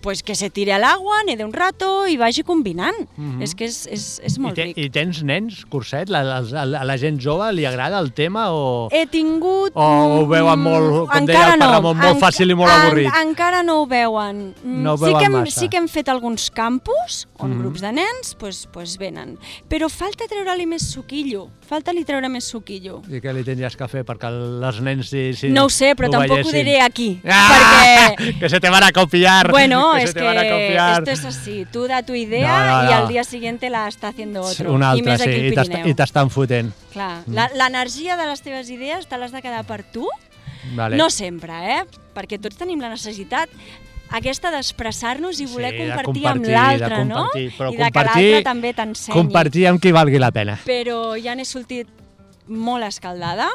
Pues que se tire a l'aigua, nede un rato i vagi combinant. És que és, és, és molt I, te, ric. I tens nens, curset? La, la, la, la gent jove li agrada el tema o... He tingut... O Oh, ho veuen molt, com deia encara el Ramon, molt enca- fàcil i molt avorrit. En, encara no ho veuen. Mm, No ho sí, veuen que hem, massa. Mhm. sí que hem fet alguns campus on grups de nens pues, pues venen. Però falta treure-li més suquillo. Falta-li treure més suquillo. I què li tindries que fer perquè els nens... Si, si No ho sé, però tampoc ho veiessin? diré aquí. Ah! Perquè, Que se te van a copiar. bueno, que se es te que van a copiar. esto es así. Tú da tu idea No, no, y no. al día siguiente la està haciendo otro. Un I altre, més aquí sí, al i t'està- Pirineu. i t'estan fotent. Clar, la- Mm. l'energia de les teves idees te l'has de quedar per tu. Vale. No sempre, eh? Perquè tots tenim la necessitat aquesta d'expressar-nos i voler Sí, de compartir, amb compartir, l'altre, de no? compartir, però I de que compartir- l'altre també t'ensenyi Compartir amb qui valgui la pena. però ja n'he sortit molt escaldada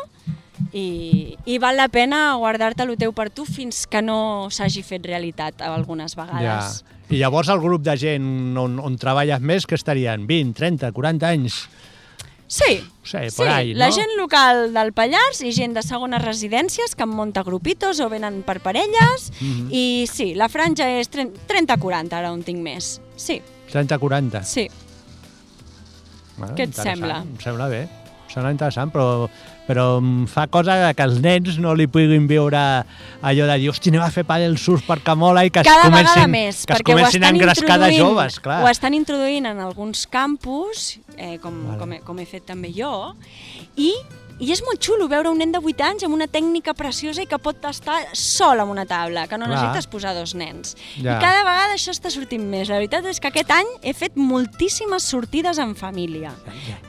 I, i val la pena guardar-te-lo teu per tu fins que no s'hagi fet realitat algunes vegades. Ja. I llavors el grup de gent on, on treballes més, que estarien 20, 30, 40 anys. Sí, Sí, sí por ahí, la no? gent local del Pallars i gent de segones residències que em monta grupitos o venen per parelles Mhm. mm -hmm. i sí, la franja és 30-40, ara on tinc més. Sí, 30, 40. sí. Bueno, Què et interessant, sembla? Em sembla bé, em sembla interessant, però, però em fa cosa de que els nens no li puguin viure allò de dir, hosti, anem a fer pàdel surf perquè mola i que Cada es vegada comencin, més, que es perquè ho comencin a estan engrescar de introduint, joves, clar. ho estan introduint en alguns campus, eh, com, vale. com, he, com he fet també jo, i, i és molt xulo veure un nen de 8 anys amb una tècnica preciosa i que pot estar sol amb una taula, que no Clar. necessites posar dos nens. Ja. Ja. I cada vegada això està sortint més. La veritat és que aquest any he fet moltíssimes sortides en família.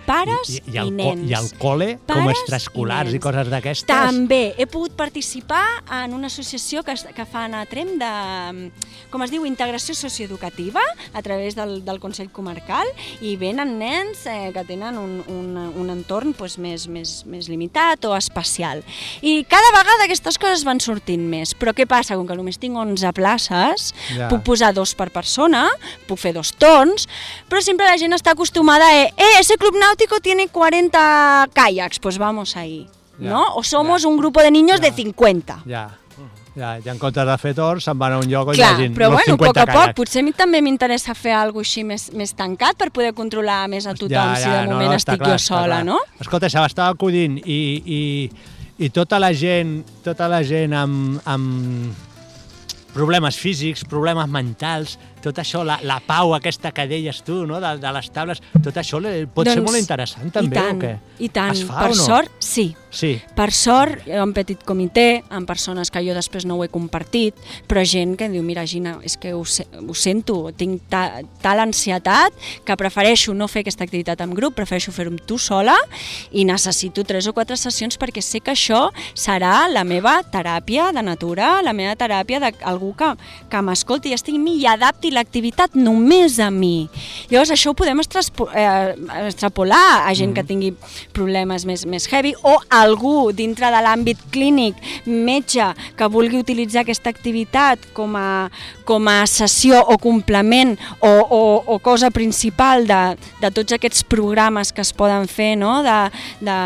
Pares i, i, el, co- nens. I al col·le, com Pares extraescolars i i, nens. coses d'aquestes. També he pogut participar en una associació que, es- que fan a Trem de, com es diu, integració socioeducativa a través del, del Consell Comarcal i venen nens eh, que tenen un, un, un entorn doncs, més, més, més limitat o especial. I cada vegada aquestes coses van sortint més. Però què passa? Com que només tinc 11 places, Ja. ja. puc posar dos per persona, puc fer dos tons, però sempre la gent està acostumada a eh, ese club náutico tiene 40 kayaks, pues vamos ahí. Ya, ¿no? O somos un grupo de niños de 50. Ja, ja, ja en comptes de fer tors, se'n van a un lloc on Clar, hi hagi però els bueno, 50 a poc a poc, caiacs. potser a mi també m'interessa fer alguna cosa així més, més tancat per poder controlar més a tothom si de moment està estic clar, jo està sola, clar. no? Escolta, se m'estava acudint i, i, i tota la gent, tota la gent amb, amb problemes físics, problemes mentals, tot això, la, la pau aquesta que deies tu, no? de, de les taules, tot això li- pot ser molt interessant també, Doncs i tant, o què? I tant, Es fa, per o no? sort, sí. Sí, Per sort, en petit comitè, amb persones que jo després no ho he compartit, però gent que diu, mira, Gina, és que ho, se ho sento, tinc ta tal ansietat que prefereixo no fer aquesta activitat en grup, prefereixo fer-ho amb tu sola i necessito tres o quatre sessions perquè sé que això serà la meva teràpia de natura, la meva teràpia d'algú que, que m'escolti i estigui amb mi i adapti l'activitat només a mi. Llavors, això ho podem extraspo- eh, extrapolar a gent mm. que tingui problemes més, més heavy o algú dintre de l'àmbit clínic, metge, que vulgui utilitzar aquesta activitat com a, com a sessió o complement o, o, o cosa principal de, de tots aquests programes que es poden fer, no? de, de,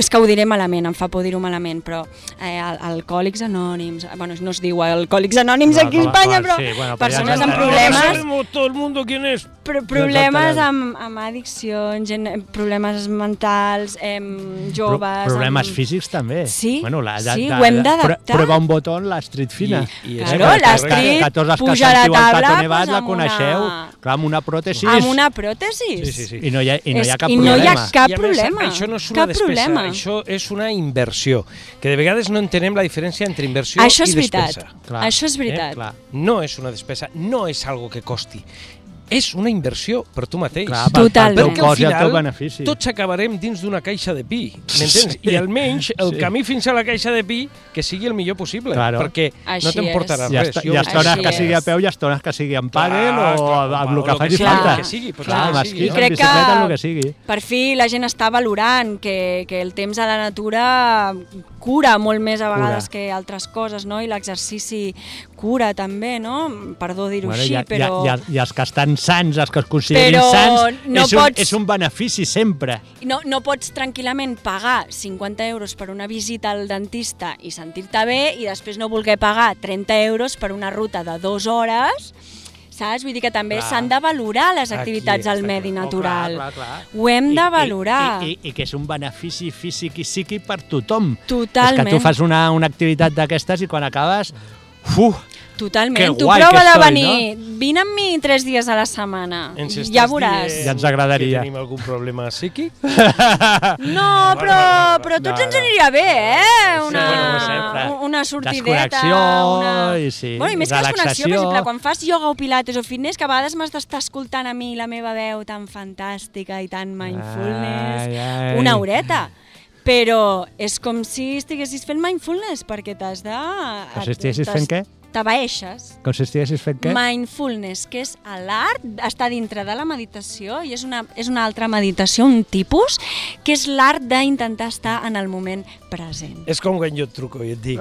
és que ho diré malament, em fa por dir-ho malament, però eh, al- alcohòlics anònims, eh, bueno, no es diu alcohòlics anònims No, aquí a com a- com Espanya, a- però sí, bueno, però ja persones ens amb entenem. problemes Todo el mundo quién es. Pro problemes entenem. amb, amb addiccions, gent, problemes mentals, em, joves... Pro- problemes amb... físics també. Sí, bueno, la, de, sí, de, ho hem de- d'adaptar. pr- Provar un botó en l'Astrid Fina. I- i és Claro, perquè els l'Astrid que- que tots els que puja a la sentiu el Tato taula, Nevat pues, la amb coneixeu, una- clar, amb una pròtesi. Amb una pròtesi. Sí, sí, sí. I no hi ha, i no hi ha És- cap i no problema. hi ha cap I a problema. Més, això no és una cap despesa, problema. això és una inversió, que de vegades no entenem la diferència entre inversió Això és i veritat. despesa. Clar. Això és veritat. Eh, clar. No és una despesa, no és algo que costi. És una inversió per tu mateix. Clar, pel- pel Totalment. teu Perquè al cost i el teu final benefici. tots acabarem dins d'una caixa de pi, m'entens? Sí. I almenys el Sí. camí fins a la caixa de pi que sigui el millor possible, Claro. perquè no Així t'emportarà és. hi ha, res. esto- Jo hi ha crec estones així que sigui a és. peu i estones que sigui en pàdel Clar, o clar, amb el que el faci que sigui, falta. el que sigui, pues clar, clar, amb sí. esquís, Jo amb crec bicicleta, el que sigui. per fi la gent està valorant que, que el temps a la natura cura molt més a Cura. vegades que altres coses, no? I l'exercici cura també, no? Perdó dir-ho Bueno, així, hi, ha, però... hi, ha, hi ha els que estan sans, els que es considerin Però sans, no és, un, pots- és un benefici sempre. no, no pots tranquil·lament pagar 50 euros per una visita al dentista i sentir-te bé i després no voler pagar 30 euros per una ruta de dues hores, saps? Vull dir que també Clar. s'han de valorar les Aquí activitats al està medi clar. natural. Oh, clar, clar, clar. Ho hem I- de i- valorar. I, i, i que és un benefici físic i psíquic per tothom. Totalment. És que tu fas una, una activitat d'aquestes i quan acabes... Uf, Totalment. Que Tu guai prova que de estoy, venir. Vine amb mi tres dies a la setmana. Ens estàs Ja veuràs. dient Ja ens agradaria. Que tenim algun problema psíquic? No, però, però a tots No, ens no. aniria bé, eh? Una, bueno, com sempre. u- una sortideta. Desconnexió, una... i sí, bueno, i més que desconnexió, per relaxació. exemple, quan fas ioga o pilates o fitness, que a vegades m'has d'estar escoltant a mi la meva veu tan fantàstica i tan mindfulness, Ai, ai. una horeta. però és com si estiguessis fent mindfulness, perquè t'has de... Que si estiguessis fent què? T'abaeixes. Com si estiguessis fent què? Mindfulness, que és a l'art, està dintre de la meditació i és una, és una altra meditació, un tipus, que és l'art d'intentar estar en el moment present. És com quan jo et truco i et dic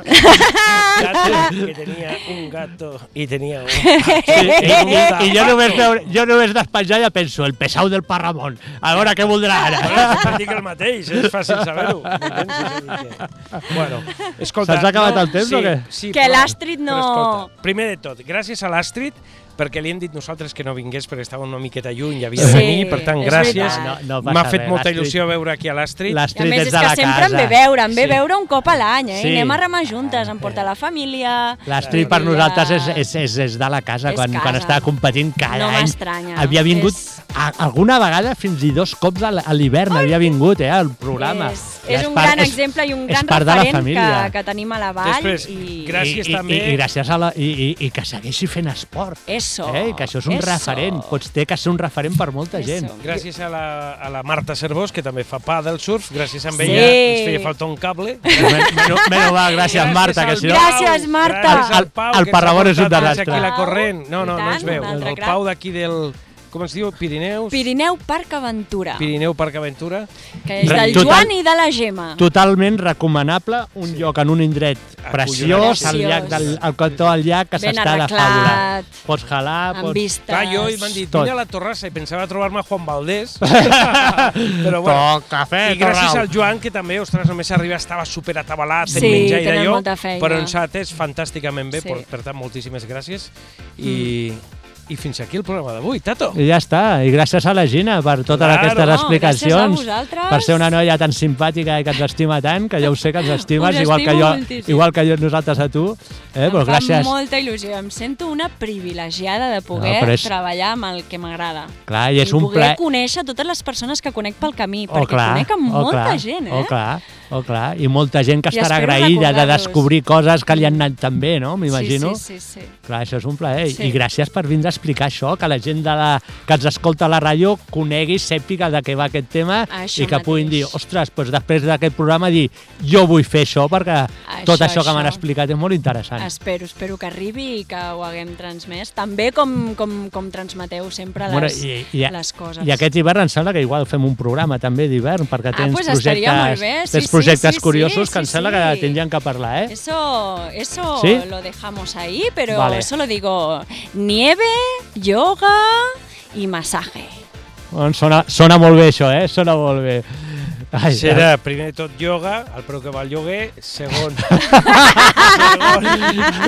gato, que tenia un gato i tenia un... Sí, i, i, i jo només, veure, jo només despenjar ja penso, el pesau del Parramon, a veure què voldrà ara. Bueno, sempre dic el mateix, és fàcil saber-ho. M'entens? És a dir que- Bueno, escolta... Se'ns ha acabat el temps sí, o què? Sí, Que però- l'Astrid no- però escolta, primer de tot, gràcies a l'Astrid, perquè li hem dit nosaltres que no vingués perquè estava una miqueta lluny i havia de Sí, venir, per tant, és gràcies. veritat. No, no passa M'ha fet res, molta l'Astrid- il·lusió veure aquí a l'Astrid. I a L'Astrid més, és és de que la sempre casa. em ve veure, em ve Sí. veure un cop a l'any, eh? Sí. Ah, I anem a remar juntes, em porta la família... L'Astrid per nosaltres és, és, és, és de la casa, És quan, casa. quan estava competint cada No any. m'estranya. Havia vingut És- a, alguna vegada fins i dos cops a l- a l'hivern, havia vingut eh, al programa. És, I és un part- gran exemple i un és gran part de la referent que, família. que tenim a la vall. Després, i... gra- Gràcies I, i, també. I, i gràcies a la, i, i, i que segueixi fent esport. Eso, eh? Que això és un eso. referent. Pots té que ser un referent per molta Eso. gent. Gràcies a la, a la Marta Cervós, que també fa pa del surf. Gràcies a Sí. ella ens feia falta un cable. Menys men, va, gràcies, Marta, que si no... Gràcies, Marta. Gràcies al El- Pau, el que ens ha Parragón és un portat fins desastre. Aquí la corrent. No, no, I no tant, ens veu. un altre El crac. Pau d'aquí del... Com es diu? Pirineus? Pirineu Parc Aventura, Pirineu Parc Aventura. que és del Total- Joan i de la Gemma. Ah. Totalment recomanable, un sí. lloc en un indret preciós, al Preciós. llac del al cantó del llac, que Ben s'està de arreglat. fabular. Pots jalar, amb pots... vistes... Clar, jo i m'han dit, Tot. vine a la Torrassa, i pensava trobar-me Juan Valdés. Però bueno, Toc, cafè, I gràcies torrau. al Joan, que també, ostres, només arriba estava super atabalat, fent Sí, menjar i tenen d'allò, molta feina. però ens ha atès fantàsticament bé, Sí. per, per tant, moltíssimes gràcies. I, Mm. I fins aquí el programa d'avui, Tato. I ja està. I gràcies a la Gina per totes Claro. aquestes No, explicacions. gràcies a vosaltres. per ser una noia tan simpàtica i que ens estima tant, que ja ho sé que ens estimes, Us igual que, estimo jo, moltíssim. igual que jo nosaltres a tu. Eh? Però em gràcies. fa molta il·lusió, em sento una privilegiada de poder No, però és- treballar amb el que m'agrada. Clar, i és un poder plaer... conèixer totes les persones que conec pel camí, Oh, perquè conec amb oh, molta clar, gent, eh? Oh, clar, oh, clar. I molta gent que I estarà espero agraïda de recordar-los. descobrir coses que li han anat tan bé, no? M'imagino. Sí, sí, sí, sí. Clar, això és un plaer. Sí. I gràcies per vindre a explicar això, que la gent de la, que ens escolta a la ràdio conegui, sàpiga de què va aquest tema Això i que puguin dir, mateix. ostres, doncs després d'aquest programa dir, jo vull fer això perquè tot Això, això, que m'han això. explicat és molt interessant. Espero, espero que arribi i que ho haguem transmès. També com, com, com transmeteu sempre les, Bueno, les coses. I aquest hivern em sembla que igual fem un programa també d'hivern perquè Ah, tens pues projectes, estaria molt bé, sí, tens sí, projectes sí, curiosos sí, que em sí, sembla sí. que tindrien que parlar, eh? Eso, eso ¿Sí? lo dejamos ahí, pero Vale. solo digo nieve, yoga y masaje. Doncs sona, sona molt bé això, eh? Sona molt bé. Ai, Serà, primer de tot, ioga, el preu que va el lloguer, segon,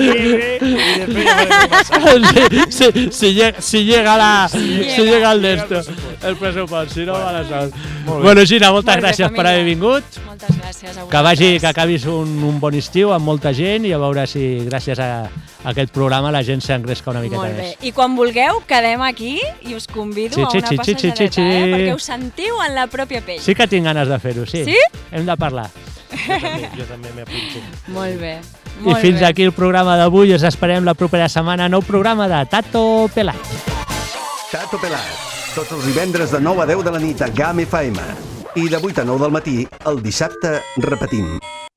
segon, llibre, i després ja veurem què passa. si, si, si, llega, si llega la, llega. si llega el Llega el d'esto, pressupost. el pressupost, si no va la sal. Molt bé. Bueno, Gina, moltes Molt bé, gràcies per família. haver vingut. Moltes gràcies a vosaltres. Que vagi, que acabis un, un bon estiu amb molta gent i a veure si gràcies a, a aquest programa la gent s'engresca una miqueta Molt bé. més. I quan vulgueu, quedem aquí i us convido Sí, a sí, una sí, sí, passejadeta, sí, sí. eh? perquè us sentiu en la pròpia pell. Sí que tinc ganes de fer-ho, sí. Sí? Hem de parlar. Jo també, jo també m'apunto. Molt bé. I Molt fins bé. aquí el programa d'avui. Us esperem la propera setmana. Nou programa de Tato Pelat. Tato Pelat. Tots els divendres de 9 a 10 de la nit a GAM FM. I de 8 a 9 del matí, el dissabte, repetim.